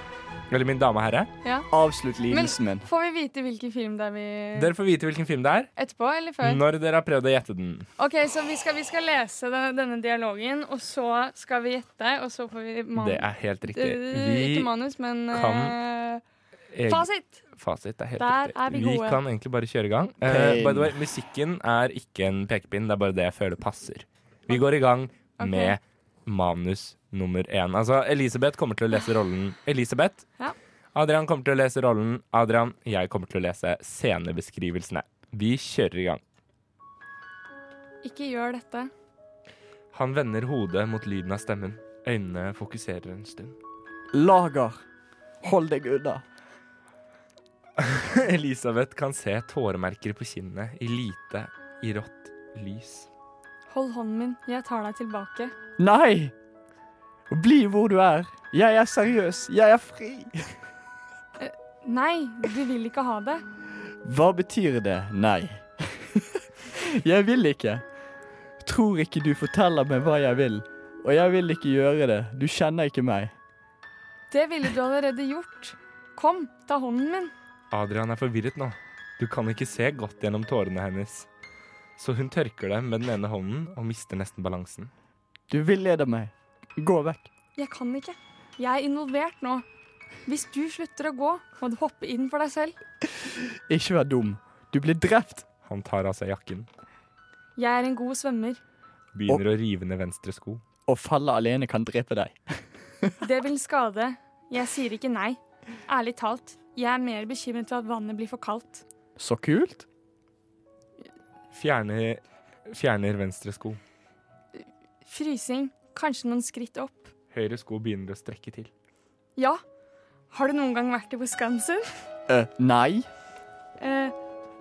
S1: Eller min dame og herre?
S5: Avslutt lidelsen min.
S6: Får vi vite hvilken film det er vi
S1: Dere får vite hvilken film det er
S6: Etterpå eller før?
S1: når dere har prøvd å gjette den.
S6: OK, så vi skal, vi skal lese den, denne dialogen, og så skal vi gjette, og så får vi man
S1: Det er helt riktig.
S6: Eh, Ikke
S1: Vi
S6: manus, men
S1: kan-
S6: eh,
S1: eg-
S6: Fasit!
S1: Fasit er helt
S6: Der
S1: riktig.
S6: er vi gode.
S1: kan egentlig bare kjøre i gang. Eh,
S5: Pain.
S1: by the way, musikken er ikke en pekepinn, det er bare det jeg føler passer. Vi går i gang med manus nummer én. Altså, Elisabeth kommer til å lese rollen Elisabeth.
S6: Ja.
S1: Adrian kommer til å lese rollen Adrian. Jeg kommer til å lese scenebeskrivelsene. Vi kjører i gang.
S6: Ikke gjør dette.
S1: Han vender hodet mot lyden av stemmen. Øynene fokuserer en stund.
S5: Lager. Hold deg unna.
S1: Elisabeth kan se tåremerker på kinnene i lite, i rått lys.
S6: Hold hånden min, jeg tar deg tilbake.
S5: Nei! Bli hvor du er. Jeg er seriøs. Jeg er fri.
S6: Nei, du vil ikke ha det.
S5: Hva betyr det nei? jeg vil ikke. Tror ikke du forteller meg hva jeg vil. Og jeg vil ikke gjøre det. Du kjenner ikke meg.
S6: Det ville du allerede gjort. Kom, ta hånden min.
S1: Adrian er forvirret nå. Du kan ikke se godt gjennom tårene hennes. Så hun tørker dem med den ene hånden og mister nesten balansen.
S5: Du villeder meg. Gå vekk.
S6: Jeg kan ikke. Jeg er involvert nå. Hvis du slutter å gå, må du hoppe inn for deg selv.
S5: Ikke vær dum. Du blir drept.
S1: Han tar av seg jakken,
S6: Jeg er en god svømmer.
S1: begynner å rive ned venstre sko.
S5: Å falle alene kan drepe deg.
S6: Det vil skade. Jeg sier ikke nei. Ærlig talt, jeg er mer bekymret for at vannet blir for kaldt.
S5: Så kult.
S1: Fjerner, fjerner venstre sko.
S6: Frysing. Kanskje noen skritt opp.
S1: Høyre sko begynner å strekke til.
S6: Ja. Har du noen gang vært i Wisconsin?
S5: Eh, nei.
S6: Eh,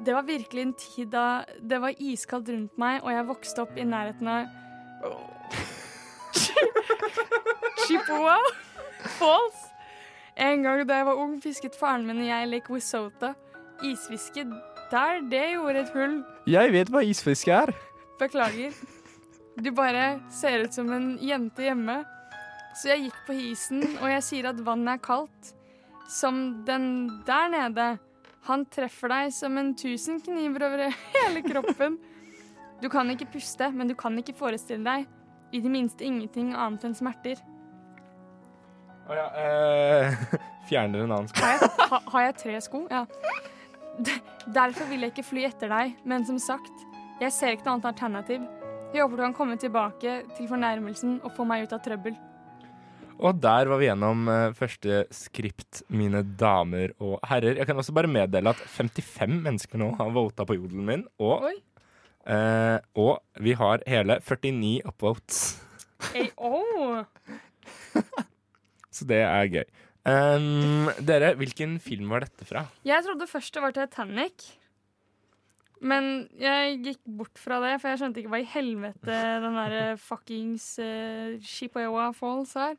S6: det var virkelig en tid da det var iskaldt rundt meg, og jeg vokste opp i nærheten av Chippewa Falls. En gang da jeg var ung, fisket faren min og jeg i Lake Wissota. Isfiske der, det gjorde et hull.
S5: Jeg vet hva isfiske er.
S6: Beklager. Du bare ser ut som en jente hjemme. Så jeg gikk på isen, og jeg sier at vannet er kaldt. Som den der nede. Han treffer deg som en tusen kniver over hele kroppen. Du kan ikke puste, men du kan ikke forestille deg i det minste ingenting annet enn smerter.
S1: Å ja, eh, fjerner en annen sko.
S6: Har jeg, ha, har jeg tre sko? Ja. De- Derfor vil jeg ikke fly etter deg, men som sagt, jeg ser ikke noe annet alternativ. Jeg håper du kan komme tilbake til fornærmelsen og få meg ut av trøbbel.
S1: Og der var vi gjennom eh, første skript, mine damer og herrer. Jeg kan også bare meddele at 55 mennesker nå har vota på jodelen min, og,
S6: Oi.
S1: eh, og vi har hele 49 upvotes.
S6: Ei, åh.
S1: Så det er gøy. Ehm, dere, hvilken film var dette fra?
S6: Jeg trodde først det var Titanic. Men jeg gikk bort fra det, for jeg skjønte ikke hva i helvete den der eh, fuckings uh, Shipayowa Falls er.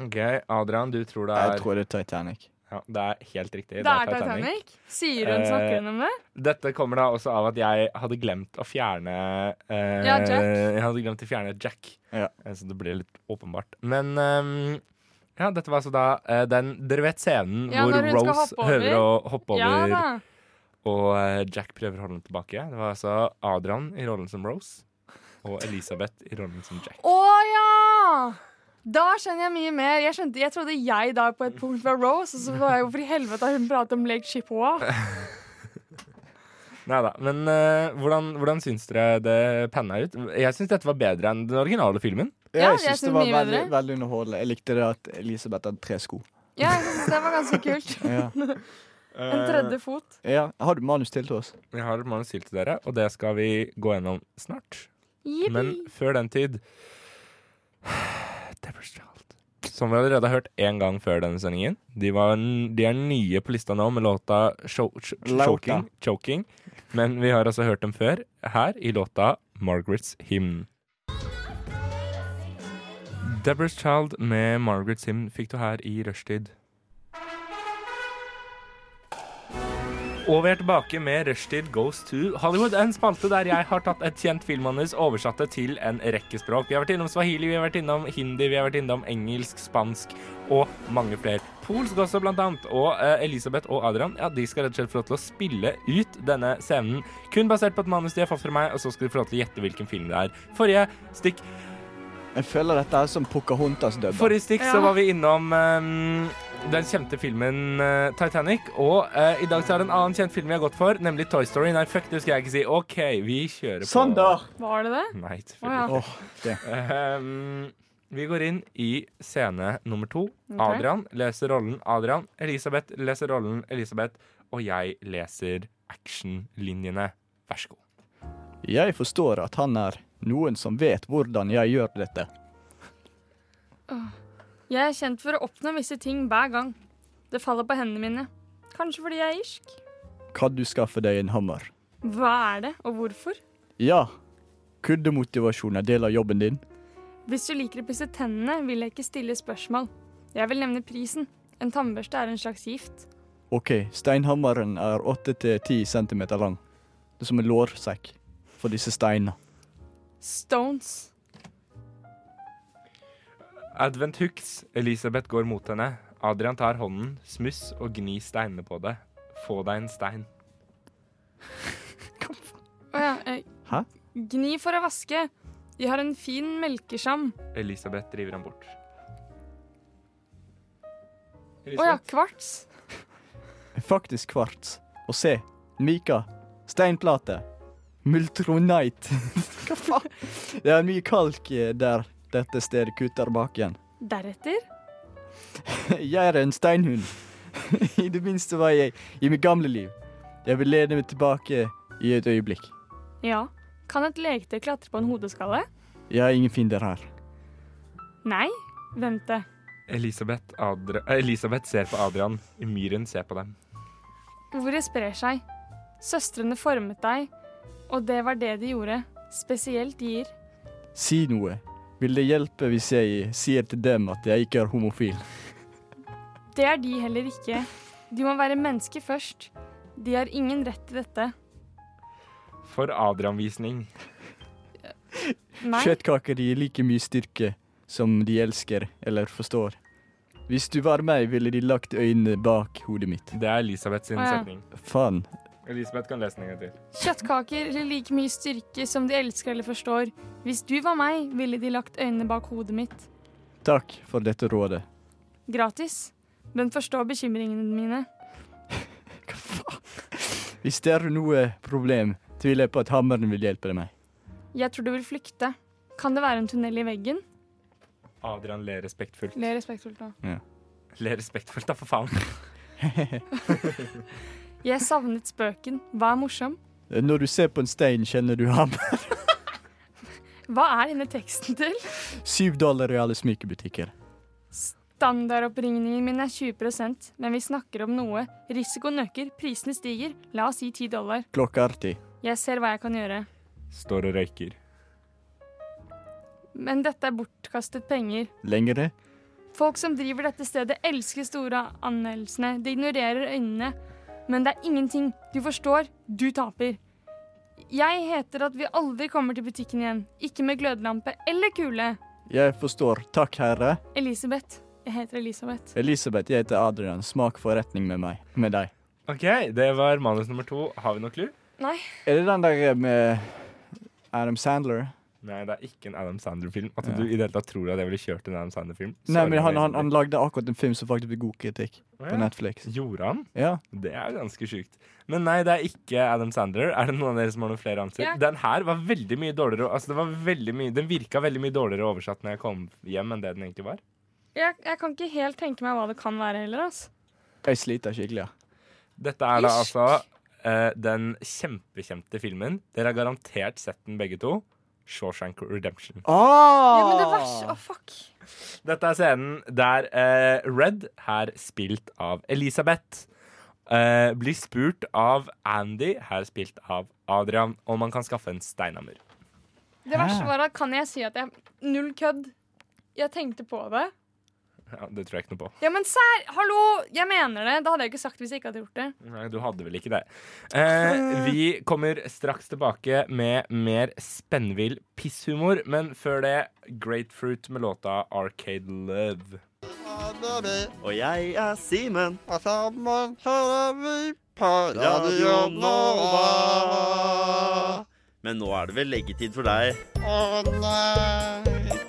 S1: Ok, Adrian, du tror det er
S5: Jeg tror det er Titanic.
S1: ja, Det er helt riktig.
S6: Det er Titanic. Eh, Sier hun, snakker hun om det?
S1: Dette kommer da også av at jeg hadde glemt å fjerne eh,
S6: Ja, Jack.
S1: Jeg hadde glemt å fjerne Jack,
S5: Ja.
S1: Eh, så det ble litt åpenbart. Men ehm, ja, dette var altså da eh, den Dere vet scenen
S6: Ja,
S1: hvor
S6: når hun skal
S1: Rose
S6: hoppe
S1: høver å
S6: over.
S1: hoppe
S6: Ja
S1: over,
S6: da.
S1: og eh, Jack prøver å holde henne tilbake? Det var altså Adrian i rollen som Rose og Elisabeth i rollen som Jack.
S6: Å ja! Da skjønner jeg mye mer. Jeg, skjønte, jeg trodde jeg da på et punkt var Rose, og så var jeg hvorfor i helvete har hun pratet om Lake Shipayowa?
S1: Neida, Men eh, hvordan, hvordan syns dere det panna ut? Jeg syns dette var bedre enn den originale filmen.
S6: Ja,
S5: jeg
S6: jeg
S5: syns det
S6: synes
S5: var
S6: mye
S5: veldig,
S6: bedre.
S5: veldig underholdende. Jeg likte det at Elisabeth hadde tre sko.
S6: Ja, jeg synes det var ganske kult.
S5: Ja.
S6: En tredje fot.
S5: ja. Har du manus til til oss?
S1: Jeg har et manus til til dere, og det skal vi gå gjennom snart.
S6: Yippee.
S1: Men før den tid Devil's Child. Som vi allerede har hørt én gang før denne sendingen. De, var, n- de er nye på lista nå med låta Cho- Cho-
S5: Lauta.
S1: choking, choking. Men vi har altså hørt dem før her i låta Margaret's Hymn. Deborah's Child med Margaret's Hymn fikk du her i rushtid. Og vi er tilbake med Rushtid Goes to Hollywood. En spalte der jeg har tatt et kjent filmmanus, oversatt det til en rekke språk. Vi har vært innom swahili, vi har vært innom hindi, vi har vært innom engelsk, spansk og mange flere. Polsk også, blant annet. Og eh, Elisabeth og Adrian ja, de skal rett og slett få lov til å spille ut denne scenen kun basert på et manus de har fått fra meg, og så skal de få lov til å gjette hvilken film det er. Forrige stikk
S5: Jeg føler dette er som Pocahontas-dubben.
S1: Forrige stikk så var vi innom eh, den kjente filmen eh, Titanic. Og eh, i dag så er det en annen kjent film vi har gått for, nemlig Toy Story. Nei, fuck, det skal jeg ikke si. OK, vi kjører på.
S6: sånn
S5: Sander!
S6: Var det det?
S1: Nei,
S6: Å ja.
S1: selvfølgelig. Ehm, vi går inn i scene nummer to.
S6: Ok.
S1: Adrian leser rollen Adrian. Elisabeth leser rollen Elisabeth. Og jeg leser actionlinjene. Vær så god.
S5: Jeg forstår at han er noen som vet hvordan jeg gjør dette.
S6: Jeg er kjent for å oppnå visse ting hver gang. Det faller på hendene mine. Kanskje fordi jeg er irsk.
S5: Kan du skaffe deg en hammer?
S6: Hva er det, og hvorfor?
S5: Ja. Kuddemotivasjon er del av jobben din.
S6: Hvis du liker å pusse tennene, vil jeg ikke stille spørsmål. Jeg vil nevne prisen. En tannbørste er en slags gift.
S5: OK, steinhammeren er 8-10 cm lang. Det er som en lårsekk for disse steinene.
S6: Stones.
S1: Advent Hooks. Elisabeth går mot henne. Adrian tar hånden, smuss og gni steinene på det. Få deg en stein.
S6: Å ja. eh,
S5: Hæ?
S6: Gni for å vaske. De har en fin melkeskjam.
S1: Elisabeth driver ham bort.
S6: Å ja, kvarts.
S5: Faktisk kvarts. Og se. Mika. Steinplate. Multronite. Hva faen? Det er mye kalk eh, der dette stedet kutter baken.
S6: Deretter
S5: Jeg er en steinhund. I det minste var jeg i mitt gamle liv. Jeg vil lene meg tilbake i et øyeblikk.
S6: Ja. Kan et leketøy klatre på en hodeskalle?
S5: Jeg har ingen fiender her.
S6: Nei. Vent det.
S1: Elisabeth, Adra eh, Elisabeth ser på Adrian. Myren ser på dem.
S6: Ordet sprer seg. Søstrene formet deg, og det var det de gjorde. Spesielt gir.
S5: Si noe. Vil det hjelpe hvis jeg sier til dem at jeg ikke er homofil?
S6: Det er de heller ikke. De må være mennesker først. De har ingen rett til dette.
S1: For Adrian-visning.
S6: Nei.
S5: Kjøttkaker gir like mye styrke som de elsker eller forstår. Hvis du var meg, ville de lagt øynene bak hodet mitt.
S1: Det er Elisabeth sin
S6: Å, ja.
S1: setning.
S5: Faen.
S1: Elisabeth kan lese den en gang til.
S6: Kjøttkaker eller like mye styrke som de elsker eller forstår. Hvis du var meg, ville de lagt øynene bak hodet mitt.
S5: Takk for dette rådet.
S6: Gratis. Men forstå bekymringene mine.
S5: Hvis det er noe problem, tviler jeg på at hammeren vil hjelpe meg.
S6: Jeg tror du vil flykte. Kan det være en tunnel i veggen?
S1: Adrian ler respektfullt.
S6: Le respektfullt nå.
S1: Ler respektfullt, da, for faen.
S6: Jeg savnet spøken. Hva er morsom?
S5: Når du ser på en stein, kjenner du ham.
S6: Hva er denne teksten til?
S5: Syv dollar i alle smykkebutikker.
S6: Standardoppringningen min er 20 men vi snakker om noe. Risikoen øker, prisene stiger. La oss si 10 dollar.
S5: Klokka er ti.
S6: Jeg ser hva jeg kan gjøre.
S1: Står og røyker.
S6: Men dette er bortkastet penger.
S5: Lengre?
S6: Folk som driver dette stedet, elsker store anmeldelsene. De ignorerer øynene. Men det er ingenting. Du forstår, du taper. Jeg heter at vi aldri kommer til butikken igjen. Ikke med glødlampe eller kule.
S5: Jeg forstår. Takk, herre.
S6: Elisabeth. Jeg heter Elisabeth.
S5: Elisabeth, jeg heter Adrian. Smak forretning med meg. Med deg.
S1: OK, det var manus nummer to. Har vi noe clue?
S5: Er det den der eh, med Adam Sandler?
S1: Nei, det er ikke en Adam Sandler-film. At
S5: Ja.
S1: du i det hele tatt tror at jeg ville kjørt en Adam Sandler-film.
S5: Nei,
S1: Sorry,
S5: men han, han,
S1: veldig.
S5: han lagde akkurat en film som faktisk fikk god kritikk
S1: Å, ja.
S5: på Netflix.
S1: Gjorde han?
S5: Ja.
S1: Det er ganske sjukt. Men nei, det er ikke Adam Sandler. Er det noen av dere som har noen flere anser?
S6: Ja.
S1: Den her var veldig mye dårligere Altså, det var veldig mye Den virka veldig mye dårligere oversatt når jeg kom hjem, enn det den egentlig var.
S6: Jeg, jeg kan ikke helt tenke meg hva det kan være heller, altså.
S5: Jeg sliter skikkelig. ja.
S1: Dette er da
S6: Ish.
S1: altså eh, den kjempekjente filmen. Dere har garantert sett den begge to. Shawshank Redemption. Ah!
S6: Ja, men det verste Å, fuck.
S1: Dette er scenen der eh, Red, her spilt av Elisabeth, eh, blir spurt av Andy, her spilt av Adrian, om han kan skaffe en steinhammer.
S6: Det verste var at kan jeg si at jeg Null kødd. Jeg tenkte på det.
S1: Ja, det tror jeg ikke noe på.
S6: Ja, men sær... Hallo! Jeg mener det. Det hadde jeg ikke sagt hvis jeg ikke hadde gjort det.
S1: Nei, du hadde vel ikke det. Eh, vi kommer straks tilbake med mer spennvill pisshumor, men før det Grapefruit med låta Arcade Love.
S9: Og jeg er Simen.
S10: Og sammen hører vi på Radio Nova.
S9: Men nå er det vel leggetid for deg.
S10: Å nei.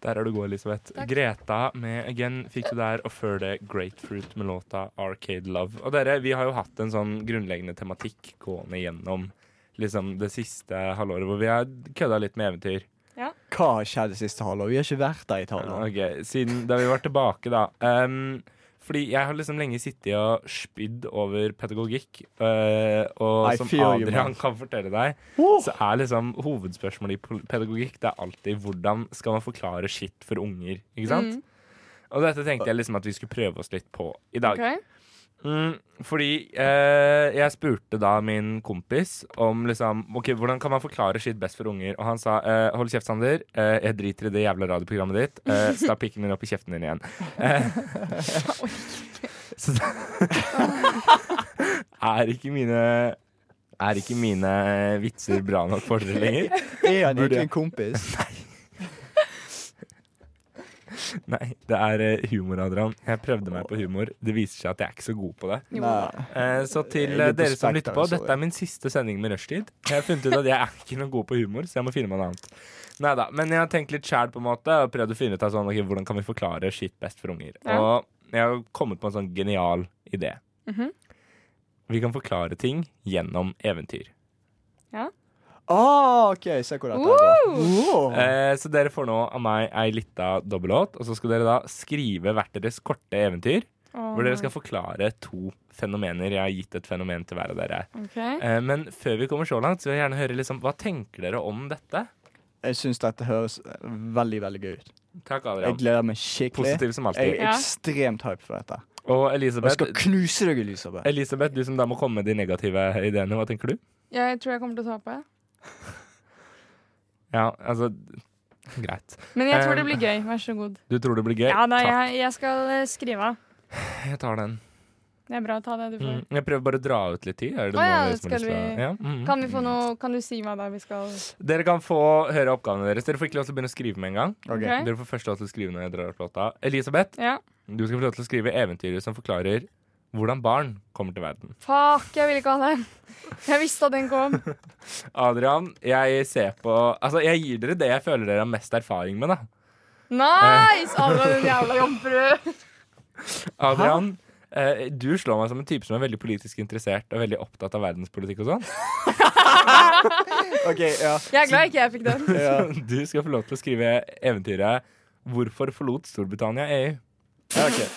S1: Der er du god, Elisabeth. Greta med Again fikk du der, og før det Grapefruit med låta Arcade Love. Og dere, vi har jo hatt en sånn grunnleggende tematikk gående gjennom liksom det siste halvåret, hvor vi har kødda litt med eventyr.
S5: Hva har skjedd det siste halvåret? Vi har ikke vært der i et halvår.
S1: Ok, siden da vi var tilbake da Ehm, Fordi jeg har liksom lenge sittet og spydd over pedagogikk eh, Og
S5: I
S1: som
S5: feel you,
S1: Adrian
S5: man.
S1: kan fortelle deg Så er liksom hovedspørsmålet i pol- pedagogikk Det er alltid hvordan skal man forklare shit for unger Ikke sant? Og dette tenkte jeg liksom at vi skulle prøve oss litt på i dag
S6: Ok.
S1: Mm, fordi eh, jeg spurte da min kompis om liksom Ok, hvordan kan man forklare shit best for unger? Og han sa eh, hold kjeft, Sander. Eh, jeg driter i det jævla radioprogrammet ditt. Eh, Stapp pikken min opp i kjeften din igjen. Eh, så det er ikke mine Er ikke mine vitser bra nok for dere lenger?
S5: Er han
S1: Burde
S5: egentlig
S1: jeg?
S5: en kompis?
S1: Nei, det er eh, humor, Adrian. Jeg prøvde meg på humor. Det viser seg at jeg er ikke så god på det.
S5: Jo. Nei.
S1: Eh, Så til
S5: Jeg
S1: eh,
S5: er litt på
S1: dere som lytter
S5: spekteren,
S1: på,
S5: sorry.
S1: dette er min siste sending med rushtid. Jeg har funnet ut at jeg er ikke noe god på humor, så jeg må finne meg noe annet. Neida, men jeg har tenkt litt sjæl på en måte, og prøvd å finne ut av sånn, ok, hvordan kan vi forklare shit best for unger.
S6: Ja.
S1: Og jeg har kommet på en sånn genial idé.
S6: Mhm.
S1: Vi kan forklare ting gjennom eventyr.
S6: Ja.
S5: Ah, OK, se hvor dette her går. Wow.
S1: Eh, så dere får nå av meg ei lita dobbellåt, og så skal dere da skrive hvert deres korte eventyr.
S6: Åh,
S1: hvor
S6: nei.
S1: dere skal forklare to fenomener. Jeg har gitt et fenomen til hver av dere.
S6: Ok.
S1: Eh, men før vi kommer så langt, så vil jeg gjerne høre liksom, hva tenker dere om dette?
S5: Jeg syns dette høres veldig, veldig gøy ut.
S1: Takk,
S5: Jeg
S1: Adrian.
S5: gleder meg skikkelig.
S1: Positiv som alltid.
S5: Jeg er
S1: Ja.
S5: ekstremt hype for dette.
S1: Og
S5: Og jeg skal
S1: Elisabeth,
S5: knuse deg, Elisabeth.
S1: Elisabeth, du som da må komme med de negative ideene, hva tenker du?
S6: Jeg tror jeg kommer til å tape.
S1: Ja, altså Greit.
S6: Men jeg tror det
S1: Eh,
S6: blir gøy. Vær så god.
S1: Du tror det blir gøy?
S6: Ja, nei,
S1: Takk.
S6: jeg, jeg skal eh, skrive. av.
S1: Jeg tar den.
S6: Det er bra å ta det du får.
S1: Mm. Jeg prøver bare å dra ut litt tid. Er det
S6: Å ja,
S1: noen som har
S6: skal
S1: lyst til å-
S6: vi-
S1: Ja, mm.
S6: Kan vi få noe Kan du si hva da vi skal
S1: Dere kan få høre oppgavene deres. Dere får ikke lov til å begynne å skrive med en gang.
S5: Ok.
S6: Ok.
S1: Dere får først lov til å skrive når jeg drar opp låta. Elisabeth,
S6: Ja.
S1: du skal få lov til å skrive eventyret som forklarer hvordan barn kommer til verden.
S6: Fuck, jeg ville ikke ha den. Jeg visste at den kom.
S1: Adrian, jeg ser på Altså, jeg gir dere det jeg føler dere har mest erfaring med, da.
S6: Nice! Alle den jævla jomfru.
S1: Adrian, eh, du slår meg som en type som er veldig politisk interessert og veldig opptatt av verdenspolitikk og sånn.
S5: OK, ja.
S6: Jeg er glad ikke jeg fikk den.
S5: ja.
S1: Så Du skal få lov til å skrive eventyret 'Hvorfor forlot Storbritannia E EU'?
S5: OK.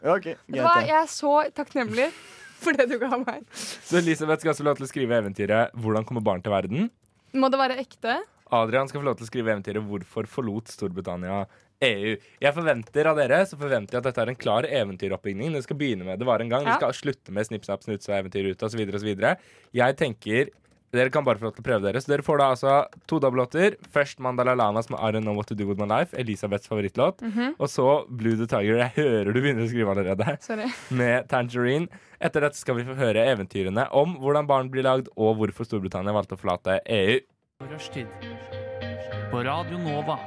S5: Ok,
S6: Vet du hva,
S5: Greit, det.
S6: jeg er så takknemlig for det du ga meg.
S1: Så Elisabeth skal også få lov til å skrive eventyret 'Hvordan kommer barn til verden'?
S6: Må det være ekte?
S1: Adrian skal få lov til å skrive eventyret 'Hvorfor forlot Storbritannia EU'. Jeg forventer av dere så forventer jeg at dette er en klar eventyroppbygning. Det skal begynne med 'Det var en gang', det skal
S6: Ja.
S1: slutte med 'Snipp, snapp, snuts' og eventyr ut, osv. osv. Jeg tenker dere kan bare få lov til å prøve dere. Så dere får da altså to dobbellåter. Først Mandala Lamas med 'I Don't Know What To Do With My Life', Elisabeths favorittlåt. Og så Blue The Tiger. Jeg hører du begynner å skrive allerede.
S6: Sorry.
S1: Med Tangerine. Etter dette skal vi få høre eventyrene om hvordan barn blir lagd, og hvorfor Storbritannia valgte å forlate E EU.
S2: Rushtid. På Radio Nova.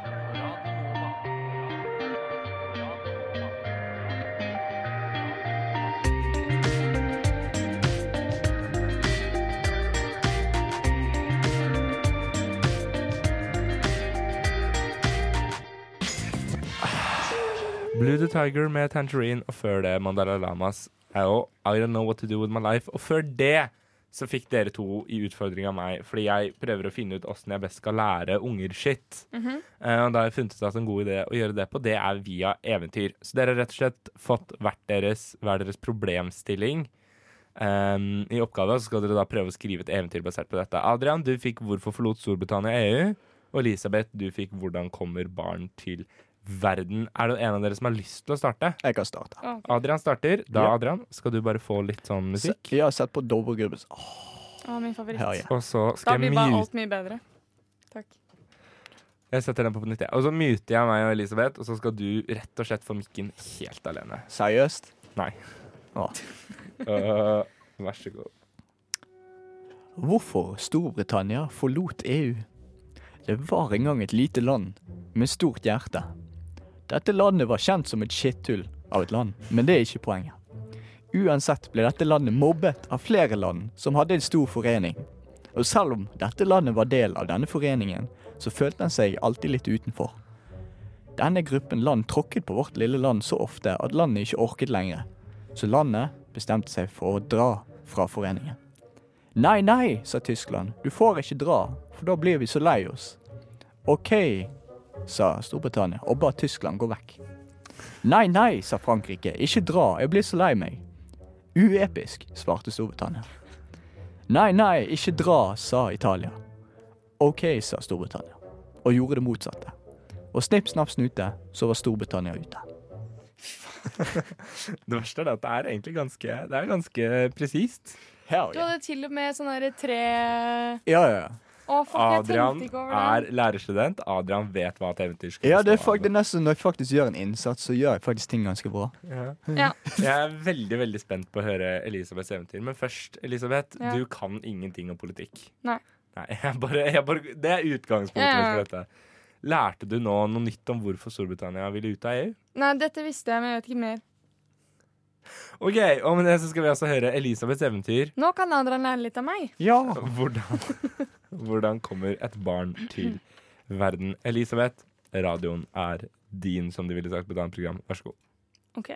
S1: Blue the Tiger med Tangerine, og før det Mandala Lamas er jo I Don't Know What To Do With My Life. Og før det så fikk dere to i utfordring av meg, fordi jeg prøver å finne ut åssen jeg best skal lære unger shit. Eh, Og da har jeg funnet ut at en god idé å gjøre det på, det er via eventyr. Så dere har rett og slett fått hvert deres, hver deres problemstilling. ehm, I oppgave så skal dere da prøve å skrive et eventyr basert på dette. Adrian, du fikk 'Hvorfor forlot Storbritannia EU?' Og Elisabeth, du fikk 'Hvordan kommer barn til verden'. Er det en av dere som har lyst til å starte?
S5: Jeg kan starte.
S1: Adrian starter. Da
S5: Ja.
S1: Adrian, skal du bare få litt sånn
S5: Se-
S1: musikk.
S5: Jeg har sett på Dovregrubbens Åh,
S6: Å, min favoritt.
S5: hell yeah.
S1: Og så
S6: Da
S1: skal
S6: blir
S1: jeg
S6: bare
S1: mute
S6: alt mye bedre. Takk.
S1: Jeg setter den på på nytt. jeg. Og så muter jeg meg og Elisabeth, og så skal du rett og slett få mikken helt alene.
S5: Seriøst?
S1: Nei.
S5: Åh.
S1: Øh, vær så god.
S5: Hvorfor Storbritannia forlot EU? Det var en gang et lite land med stort hjerte. Dette landet var kjent som et skitthull av et land, men det er ikke poenget. Uansett ble dette landet mobbet av flere land som hadde en stor forening. Og selv om dette landet var del av denne foreningen, så følte han seg alltid litt utenfor. Denne gruppen land tråkket på vårt lille land så ofte at landet ikke orket lenger, så landet bestemte seg for å dra fra foreningen. Nei, nei, sa Tyskland. Du får ikke dra, for da blir vi så lei oss. OK, sa Storbritannia og ba Tyskland gå vekk. Nei, nei, sa Frankrike. Ikke dra, jeg blir så lei meg. Uepisk, svarte Storbritannia. Nei, nei, ikke dra, sa Italia. OK, sa Storbritannia, og gjorde det motsatte. Og snipp, snapp, snute, så var Storbritannia ute.
S1: Det verste er det at det er egentlig ganske Det er ganske presist.
S5: Hell
S6: Du hadde til og med sånn derre tre
S5: Ja, ja, ja.
S6: Å, fuck, jeg
S1: Adrian
S6: tenkte ikke over
S1: er
S6: det.
S1: lærerstudent. Adrian vet hva et eventyr skal
S5: Ja, det er,
S1: bestå av.
S5: fakt- det er nesten når jeg faktisk gjør en innsats, så gjør jeg faktisk ting ganske bra.
S6: Ja.
S1: Jeg er veldig veldig spent på å høre Elisabeths eventyr. Men først, Elisabeth,
S6: Ja.
S1: du kan ingenting om politikk.
S6: Nei.
S1: Nei, jeg bare, jeg bare, det er utgangspunktet
S6: Ja, ja.
S1: mitt for dette. Lærte du nå noe nytt om hvorfor Storbritannia ville ut av E EU?
S6: Nei, dette visste jeg, men jeg vet ikke mer.
S1: OK, og med det så skal vi altså høre Elisabeths eventyr.
S6: Nå kan Adrian lære litt av meg.
S5: Ja.
S1: Hvordan, hvordan kommer et barn til verden? Elisabeth, radioen er din, som de ville sagt på et annet program. Vær så god.
S6: Ok.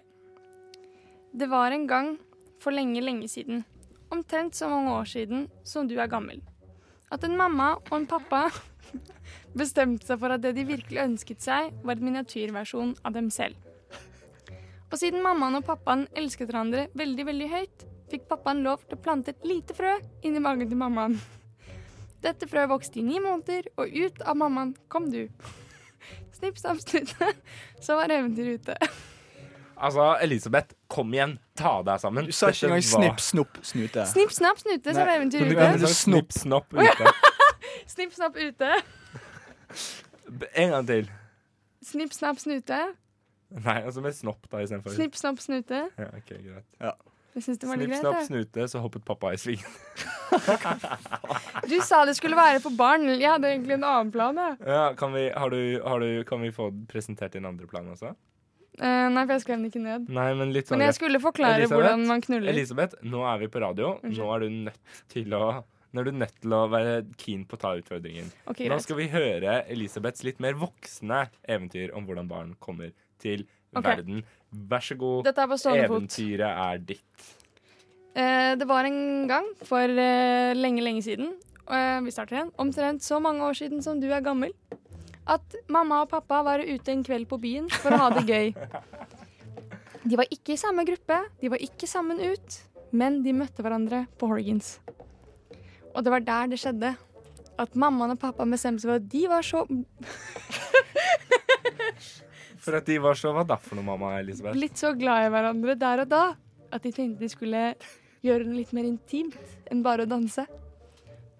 S6: Det var en gang for lenge, lenge siden, omtrent så mange år siden som du er gammel, at en mamma og en pappa bestemte seg for at det de virkelig ønsket seg, var en miniatyrversjon av dem selv. Og siden mammaen og pappaen elsket hverandre veldig, veldig høyt, fikk pappaen lov til å plante et lite frø inni magen til mammaen. Dette frøet vokste i ni måneder, og ut av mammaen kom du. Snipp, snapp, snute, så var eventyret ute.
S1: Altså, Elisabeth, kom igjen! Ta deg sammen.
S5: Du sa ikke engang
S1: Dette var-
S5: snipp, snopp, snute.
S6: Snipp, snapp, snute, så
S5: Nei,
S6: var eventyret
S1: Men du
S6: ute.
S1: kunne sagt snipp, snopp ute.
S6: Snipp, snapp, ute.
S1: En gang til.
S6: Snipp, snapp, snute.
S1: Nei, altså med snopp da istedenfor.
S6: Snipp, snapp, snute.
S1: Ja, ok, greit.
S6: Jeg synes det var litt
S1: Snipp,
S6: greit.
S1: snapp,
S6: jeg.
S1: snute, så hoppet pappa i svingen.
S6: Du sa det skulle være for barn. Jeg hadde egentlig en annen plan. Jeg.
S1: Ja, kan vi, har du, har du, kan vi få presentert din andre plan også?
S6: Eh, nei, for jeg skrev den ikke ned.
S1: Nei, men litt sånn
S6: Men jeg skulle forklare
S1: Elisabeth?
S6: hvordan man knuller.
S1: Elisabeth, nå er vi på radio. Nå er du nødt til å Nå er du nødt til å være keen på å ta utfordringen.
S6: Ok,
S1: Nå
S6: greit.
S1: skal vi høre Elisabeths litt mer voksne eventyr om hvordan barn kommer til
S6: Ok.
S1: verden. Vær så god.
S6: Dette er på stående fot.
S1: Eventyret er ditt.
S6: Eh, det var en gang for eh, lenge, lenge siden, eh, vi starter igjen, omtrent så mange år siden som du er gammel, at mamma og pappa var ute en kveld på byen for å ha det gøy. De var ikke i samme gruppe, de var ikke sammen ut, men de møtte hverandre på Horgans. Og det var der det skjedde, at mammaen og pappa bestemte seg for at de var så
S1: For at de var så Hva da for noe, mamma Elisabeth?
S6: blitt så glad i hverandre der og da at de tenkte de skulle gjøre noe litt mer intimt enn bare å danse.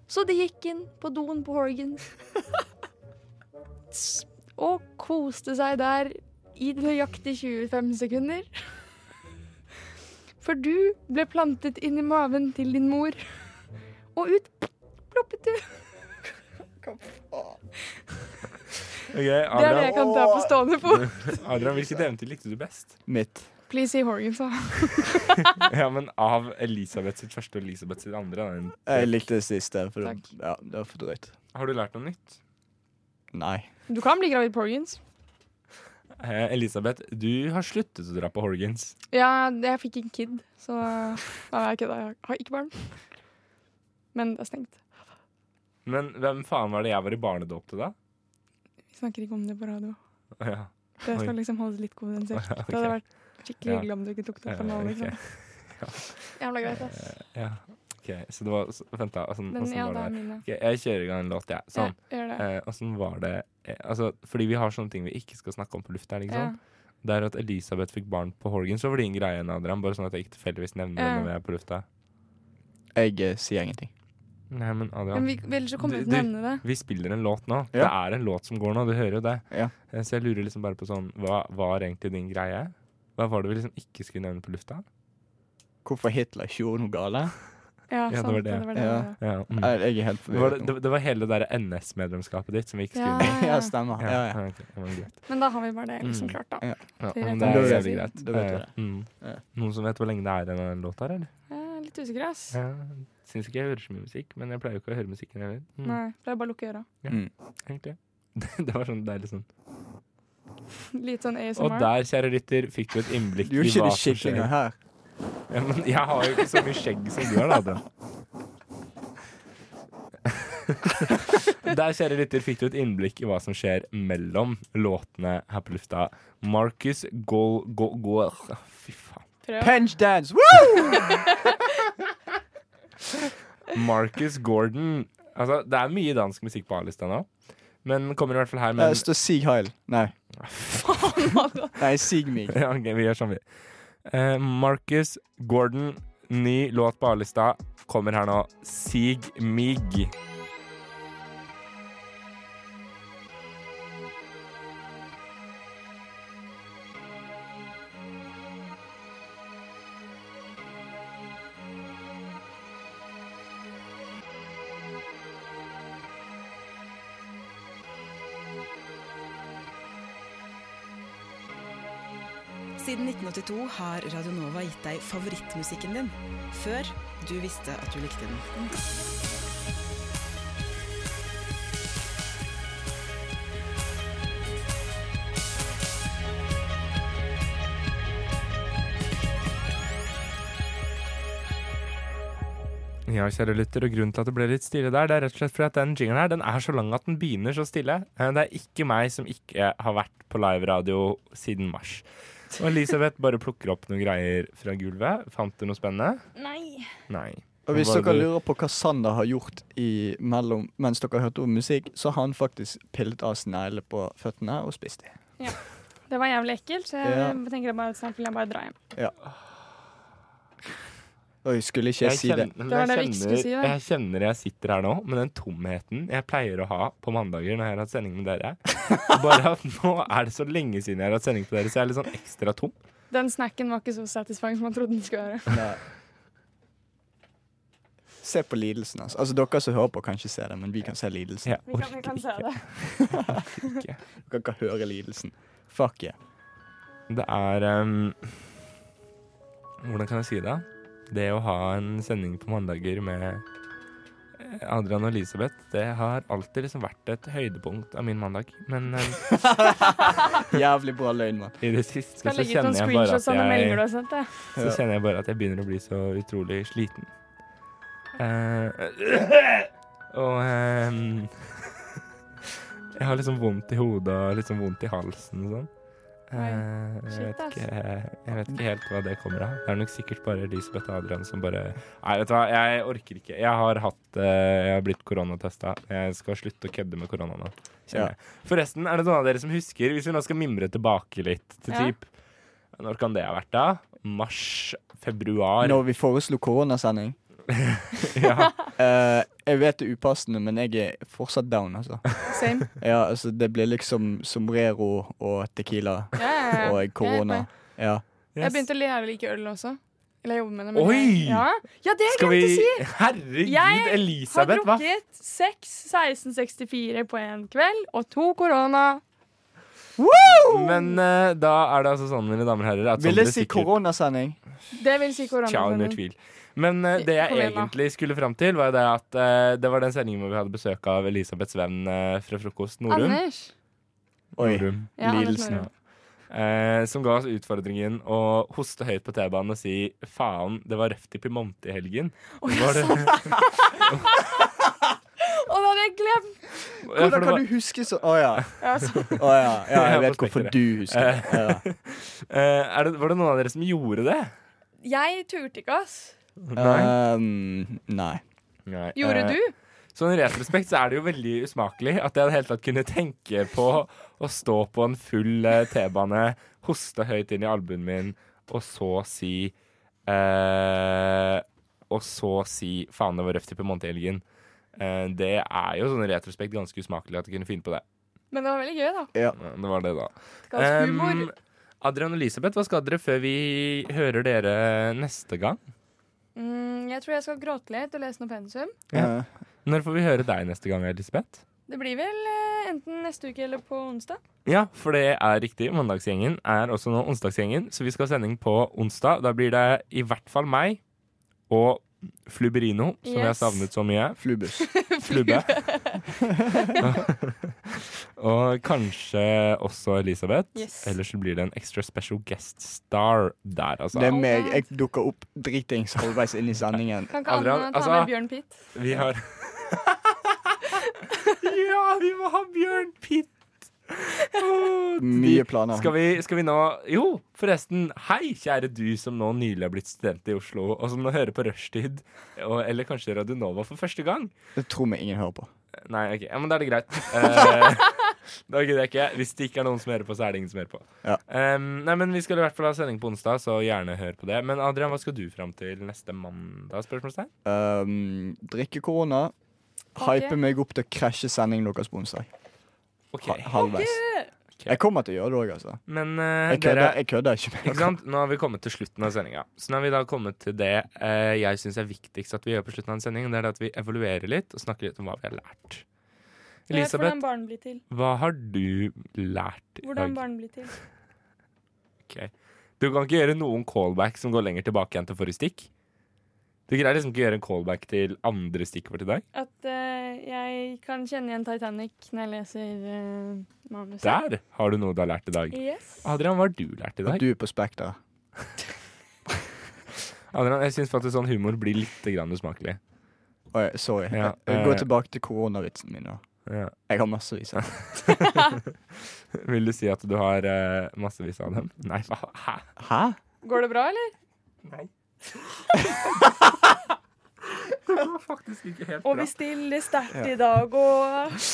S6: Så de gikk inn på doen på Horgan S- og koste seg der i nøyaktig 25 sekunder. For du ble plantet inn i maven til din mor, og ut ploppet du.
S1: Ok,
S6: Det er det jeg
S1: Adrian,
S6: kan ta på stående fot.
S1: Adrian, hvilket eventyr likte du best?
S5: Mitt.
S6: Please si Horgan, sa han.
S1: Ja, men Av Elisabeth sitt første og Elisabeth sitt andre. da.
S5: Jeg likte det siste, for det,
S6: Takk.
S5: ja, det var for drøyt.
S1: Mm. Har du lært noe nytt?
S5: Nei.
S6: Du kan bli gravid på Horgans.
S1: Eh, Elisabeth, du har sluttet å dra på Horgans.
S6: Ja, jeg fikk en kid, så Nei, jeg kødda. Jeg har ikke barn. Men det er stengt.
S1: Men hvem faen var det jeg var i barnedåp til da?
S6: Vi snakker ikke om det på radio.
S1: Ja.
S6: Det skal
S1: Oi.
S6: liksom holdes litt konfidensert. Det hadde vært skikkelig
S1: Ja.
S6: hyggelig om du ikke tok det opp
S1: Eh,
S6: for nå.
S1: ok.
S6: Liksom. Jævla greit, ass.
S1: Ja. OK, så det var så- Vent, da. Åssen
S6: Men ja,
S1: var
S6: det
S1: det?
S6: er mine.
S1: Ok, jeg kjører i gang en låt, jeg. Ja. Sånn.
S6: Ja, gjør det.
S1: Eh, Åssen var det eh, Altså, fordi vi har sånne ting vi ikke skal snakke om på lufta,
S6: Ja.
S1: liksom. Det er at Elisabeth fikk barn på Horgans over din greie, Adrian. Bare sånn at jeg ikke tilfeldigvis nevner
S6: Ja.
S1: det når vi er på lufta.
S5: Jeg eh, sier ingenting.
S1: Nei, men Adrian.
S6: Men vi vil ikke komme
S1: Du-
S6: uten å
S1: du-
S6: nevne det.
S1: Vi spiller en låt nå.
S5: Ja.
S1: Det er en låt som går nå, du hører jo det.
S5: Ja.
S1: Eh, Så jeg lurer liksom bare på sånn Hva var egentlig din greie? Hva var det vi liksom ikke skulle nevne på lufta?
S5: Hvorfor Hitler ikke gjorde noe gale?
S6: Ja,
S1: det
S6: sant,
S1: var det.
S6: det var det.
S5: Ja.
S1: Ja, mm.
S5: Jeg, jeg er
S1: det,
S5: helt
S1: var,
S5: forvirret. nå.
S1: det, det var hele det der NS-medlemskapet ditt som vi ikke skulle
S6: Ja,
S1: nevne.
S5: Ja,
S6: ja, ja.
S5: stemmer. Ja, ja.
S1: ok, det var greit.
S6: Men da har vi bare det liksom
S1: Mm.
S6: klart, da.
S5: Ja.
S1: Ja,
S6: Det er
S1: men
S6: greit.
S1: det er
S5: Da vet
S1: jævlig
S5: vi-
S1: greit.
S5: da vet vi
S1: Eh, mm.
S5: Ja.
S1: Noen som vet hvor lenge det er igjen av den låta, eller?
S6: Jeg er litt usikker, ass.
S1: Ja, Syns ikke jeg hører så mye musikk, men jeg pleier jo ikke å høre musikken heller. Mm,
S6: Nei, pleier bare å lukke øra.
S1: egentlig. Det, det var sånn deilig sånn.
S6: Litt sånn
S1: Og
S6: ASMR.
S1: der, kjære lytter, fikk du et innblikk
S5: Du gjorde
S1: i
S5: ikke
S1: hva
S5: det
S1: som
S5: skikkelig
S1: skjer.
S5: engang her.
S1: Ja, men jeg har jo ikke så mye skjegg som du har, da. Adrian. Der, kjære lytter, fikk du et innblikk i hva som skjer mellom låtene her på lufta. Marcus Gol... Go, go, fy faen.
S5: Punch dance! Woo!
S1: Marcus Gordon. Altså, det er mye dansk musikk på A-lista nå. Men kommer i hvert fall her
S5: Eh,
S1: med
S5: Stå Sig Heil. Nei.
S6: Faen,
S5: Nei, Sig Mig.
S1: ja, ok, Vi gjør sånn, vi. Eh, Marcus Gordon, ny låt på A-lista, kommer her nå. Sig mig.
S6: da.
S11: Siden 1982 har Radionova gitt deg favorittmusikken din. Før du visste at du likte den.
S1: Ja, kjære lytter, og grunnen til at det ble litt stille der, det er rett og slett fordi at den jinglen her, den er så lang at den begynner så stille. Eh, Det er ikke meg som ikke har vært på liveradio siden mars. Og Elisabeth bare plukker opp noen greier fra gulvet. Fant du noe spennende?
S7: Nei.
S1: Nei.
S5: Og hvis
S1: Hva
S5: dere
S1: var det du-
S5: lurer på hva Sander har gjort i mellom, mens dere hørte om musikk, så har han faktisk pillet av snegler på føttene og spist dem.
S6: Ja. Det var jævlig ekkelt, så jeg
S5: Ja.
S6: tenker jeg bare, snart vil jeg bare dra hjem.
S5: Ja. Oi, skulle ikke jeg, si det.
S1: kjenner-
S6: Det var det vi
S1: jeg,
S6: ikke skulle
S1: kjenner,
S6: si, da.
S1: jeg kjenner jeg sitter her nå med den tomheten jeg pleier å ha på mandager når jeg har hatt sending med dere. Bare at nå er det så lenge siden jeg har hatt sending på dere, så jeg er litt sånn ekstra tom.
S6: Den snacken var ikke så satisfying som man trodde den skulle være.
S5: Se på lidelsen hans. Altså, dere som hører på, kan ikke se det, men vi kan se lidelsen.
S6: Vi kan, vi kan se det.
S5: Dere kan høre lidelsen. Fuck yeah.
S1: Det er ehm, Hvordan kan jeg si det? Det å ha en sending på mandager med eh, Adrian og Elisabeth, det har alltid liksom vært et høydepunkt av min mandag. Men ehm,
S5: Jævlig bra løgn, mann.
S1: I det siste
S6: Skal
S1: så
S6: legge ut noen
S1: kjenner jeg bare
S6: screenshots
S1: at
S6: av noen meldinger du har
S1: jeg
S6: sendt, jeg.
S1: Så
S6: Ja.
S1: kjenner jeg bare at jeg begynner å bli så utrolig sliten. Eh, og ehm, Jeg har liksom vondt i hodet og liksom vondt i halsen og sånn. Eh, jeg,
S12: Shit,
S1: vet
S12: ass.
S1: ikke, jeg vet ikke helt hva det kommer av. Det er nok sikkert bare Elisabeth og Adrian som bare Nei, vet du hva, jeg orker ikke. Jeg har hatt eh, Jeg har blitt koronatesta. Jeg skal slutte å kødde med korona nå.
S5: Ja.
S1: kjenner jeg. Forresten, er det noen av dere som husker, hvis vi nå skal mimre tilbake litt til
S5: Ja.
S1: typ Når kan det ha vært, da? Mars? Februar?
S5: Når vi foreslo koronasending. Eh, jeg vet det er upassende, men jeg er fortsatt down, altså.
S6: Same.
S5: Ja, altså, det blir liksom sombrero og tequila
S6: Ja, ja, ja.
S5: og korona.
S6: Jeg
S5: Ja.
S6: Jeg begynte å lære å like øl også. Eller jeg jobber med det. men
S5: Oi!
S6: jeg- Ja, ja det har jeg
S1: Skal
S6: glemt å
S1: vi-
S6: si!
S1: Herregud,
S6: jeg
S1: Elisabeth, hva
S6: har drukket seks 1664 på én kveld og to korona.
S1: Men eh, da er det altså sånn, mine damer og herrer at
S5: Vil
S1: Sondre
S5: jeg si
S1: sikkert-
S5: koronasending?
S6: Det vil si korona.
S1: Tja, under tvil. Men eh, det jeg
S6: Kom igjen, da.
S1: egentlig skulle fram til, var jo det at eh, det var den sendingen hvor vi hadde besøk av Elisabeths venn eh, fra frokost, Norum.
S6: Anders.
S1: Oi,
S6: Ja, Anders lidelsen. Norum.
S1: Eh, som ga oss utfordringen å hoste høyt på T-banen og si faen, det var røft i Piemonte i helgen. Var det-
S6: Og det hadde jeg glemt!
S1: Ja, for
S5: Hvordan
S1: det
S5: kan
S1: var-
S5: du huske så Å ja.
S6: Ja,
S5: Å
S6: så-
S5: ja. ja, jeg vet
S1: respekterer
S5: hvorfor
S1: det.
S5: du husker det. Ja.
S1: Eh, eh, er det. Var det noen av dere som gjorde det?
S6: Jeg turte ikke, ass.
S5: Ehm, nei.
S1: Nei,
S6: Gjorde
S1: eh,
S6: du?
S1: Sånn i retrospekt så er det jo veldig usmakelig at jeg i det hele tatt kunne tenke på å stå på en full eh, T-bane, hoste høyt inn i albuen min, og så si eh, Og så si 'faen, det var røft i Piemonte-helgen'. Eh, det er jo sånn i retrospekt ganske usmakelig at jeg kunne finne på det.
S6: Men det var veldig gøy, da.
S1: Ja. Det var det, da.
S6: Ganske humor.
S1: Adrian og Elisabeth, hva skal dere før vi hører dere neste gang?
S6: Mm, jeg tror jeg skal gråte litt og lese noe pensum.
S1: Ja.
S5: Eh,
S1: Når får vi høre deg neste gang, Elisabeth?
S6: Det blir vel eh, enten neste uke eller på onsdag.
S1: Ja, for det er riktig. Mandagsgjengen er også nå onsdagsgjengen, så vi skal ha sending på onsdag. Da blir det i hvert fall meg og Flubberino, som jeg har
S5: Yes.
S1: savnet så mye.
S5: Flubbus.
S1: Flubbe. og kanskje også Elisabeth.
S5: Yes.
S1: Ellers så blir det en extra special guest star der, altså.
S5: Det er meg. Jeg dukker opp dritings halvveis inn i sendingen.
S6: Kan ikke Adrian,
S1: altså,
S6: ta med Bjørn Pitt?
S1: Vi har
S6: ja,
S1: vi må ha Bjørn Pitt!
S5: Mye planer.
S1: Skal vi, skal vi nå Jo, forresten. Hei, kjære du som nå nylig har blitt student i Oslo, og som nå hører på Rushtid, og, eller kanskje Radionova for første gang.
S5: Det tror vi ingen hører på.
S1: Nei, ok, ja, men da er det greit. Eh, da gidder jeg ikke. Hvis det ikke er noen som hører på, så er det ingen som hører på.
S5: Ja.
S1: Em, nei, men Vi skal i hvert fall ha sending på onsdag, så gjerne hør på det. Men Adrian, hva skal du fram til neste mandag? Spørsmålstegn?
S5: Ehm, drikke korona. Hype
S1: Ok.
S5: meg opp til å krasje sendingen deres på onsdag.
S1: Ok.
S5: Ha- Halvveis. Jeg kommer til å gjøre det òg, altså.
S1: Men eh,
S5: jeg, kødder,
S1: dere
S5: jeg kødder ikke med
S1: Ikke sant? Nå har vi kommet til slutten av sendinga. Så nå har vi da kommet til det eh, jeg syns er viktigst at vi gjør på slutten av en sending. Det er det at vi evaluerer litt og snakker litt om hva vi har lært.
S6: Eh, Hvordan
S1: Elisabeth,
S6: barn blir til.
S1: hva har du lært i
S6: Hvordan
S1: dag?
S6: barn blir til.
S1: Ok. Du kan ikke gjøre noen callback som går lenger tilbake enn til forrige stikk. Du greier liksom ikke å gjøre en callback til andre stikkord til deg.
S6: At eh, jeg kan kjenne igjen Titanic når jeg leser eh, manuset.
S1: Der Ah, har du noe du har lært i dag.
S6: Yes.
S1: Adrian, hva har du lært i dag?
S5: At du er på Spekter.
S1: Adrian, jeg syns faktisk sånn humor blir litt grann usmakelig.
S5: Oi, sorry.
S1: Ja,
S5: Jeg Gå
S1: eh,
S5: tilbake til koronavitsen min nå.
S1: Ja.
S5: Jeg har massevis av
S1: Vil du si at du har eh, massevis av dem? Nei, hva? Hæ?
S5: Hæ?
S6: Går det bra, eller?
S1: Nei.
S7: Og vi stiller sterkt i dag, og
S6: eh,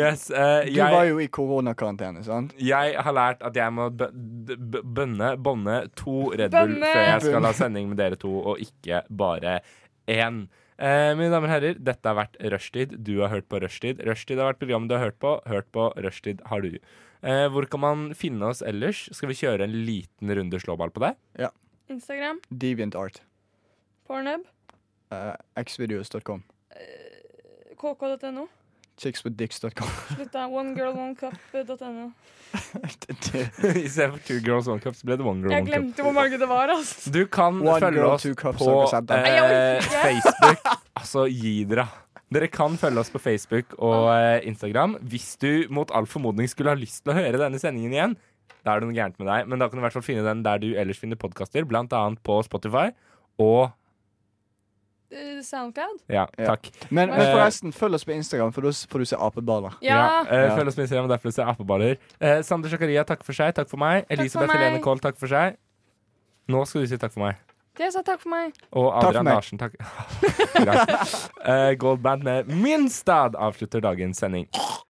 S1: Yes, eh,
S5: Du
S1: jeg-
S5: var jo i koronakarantene, sant?
S1: Jeg har lært at jeg må bø- d- b- bønne Bonne to Red Bull
S5: Bønne!
S1: før jeg skal
S5: Bønne.
S1: ha sending med dere to, og ikke bare én. Eh, mine damer og herrer, dette har vært Rushtid. Du har hørt på Rushtid. Rushtid har vært programmet du har hørt på. Hørt på Rushtid har du. Eh, hvor kan man finne oss ellers? Skal vi kjøre en liten runde slåball på deg?
S5: Ja.
S6: Instagram,
S5: Deviant Art. Eh,
S6: Pornhub,
S5: Xvideos.com.
S6: kk.no.
S5: Chickswithdicks.com.
S6: Slutt, da. Onegirlonecup.no.
S1: Istedenfor Two Girls One Cup, så ble det One Girl
S6: Jeg
S1: One Cup.
S6: glemte hvor mange det var, altså.
S1: Du kan
S5: One
S1: følge
S5: girl,
S1: oss
S5: two cups,
S1: på
S5: har dere sett den?
S1: eh,
S5: Nei, jeg orker ikke.
S1: Facebook. Altså, gi dere. Dere kan følge oss på Facebook og eh, Instagram. Hvis du mot all formodning skulle ha lyst til å høre denne sendingen igjen, da er det noe gærent med deg. Men da kan du i hvert fall finne den der du ellers finner podkaster, blant annet på Spotify. Og
S6: Eh, Soundcloud.
S1: ja, takk.
S5: Men, men
S1: Eh,
S5: forresten, følg oss på Instagram, for da s- får du se apeballer.
S1: Ja. eh,
S5: Ja.
S1: Følg oss på Instagram, derfor ser jeg apeballer. Eh, Sander Zakaria, takk for seg. Takk for meg. Elisabeth
S6: meg.
S1: Helene Kohl, takk for seg. Nå skal du si takk for meg.
S6: Det sa takk for meg.
S1: Og
S5: Takk for
S1: Adrian
S5: meg.
S1: Larsen, takk. Greit. Eh, Goldband med Minstad avslutter dagens sending.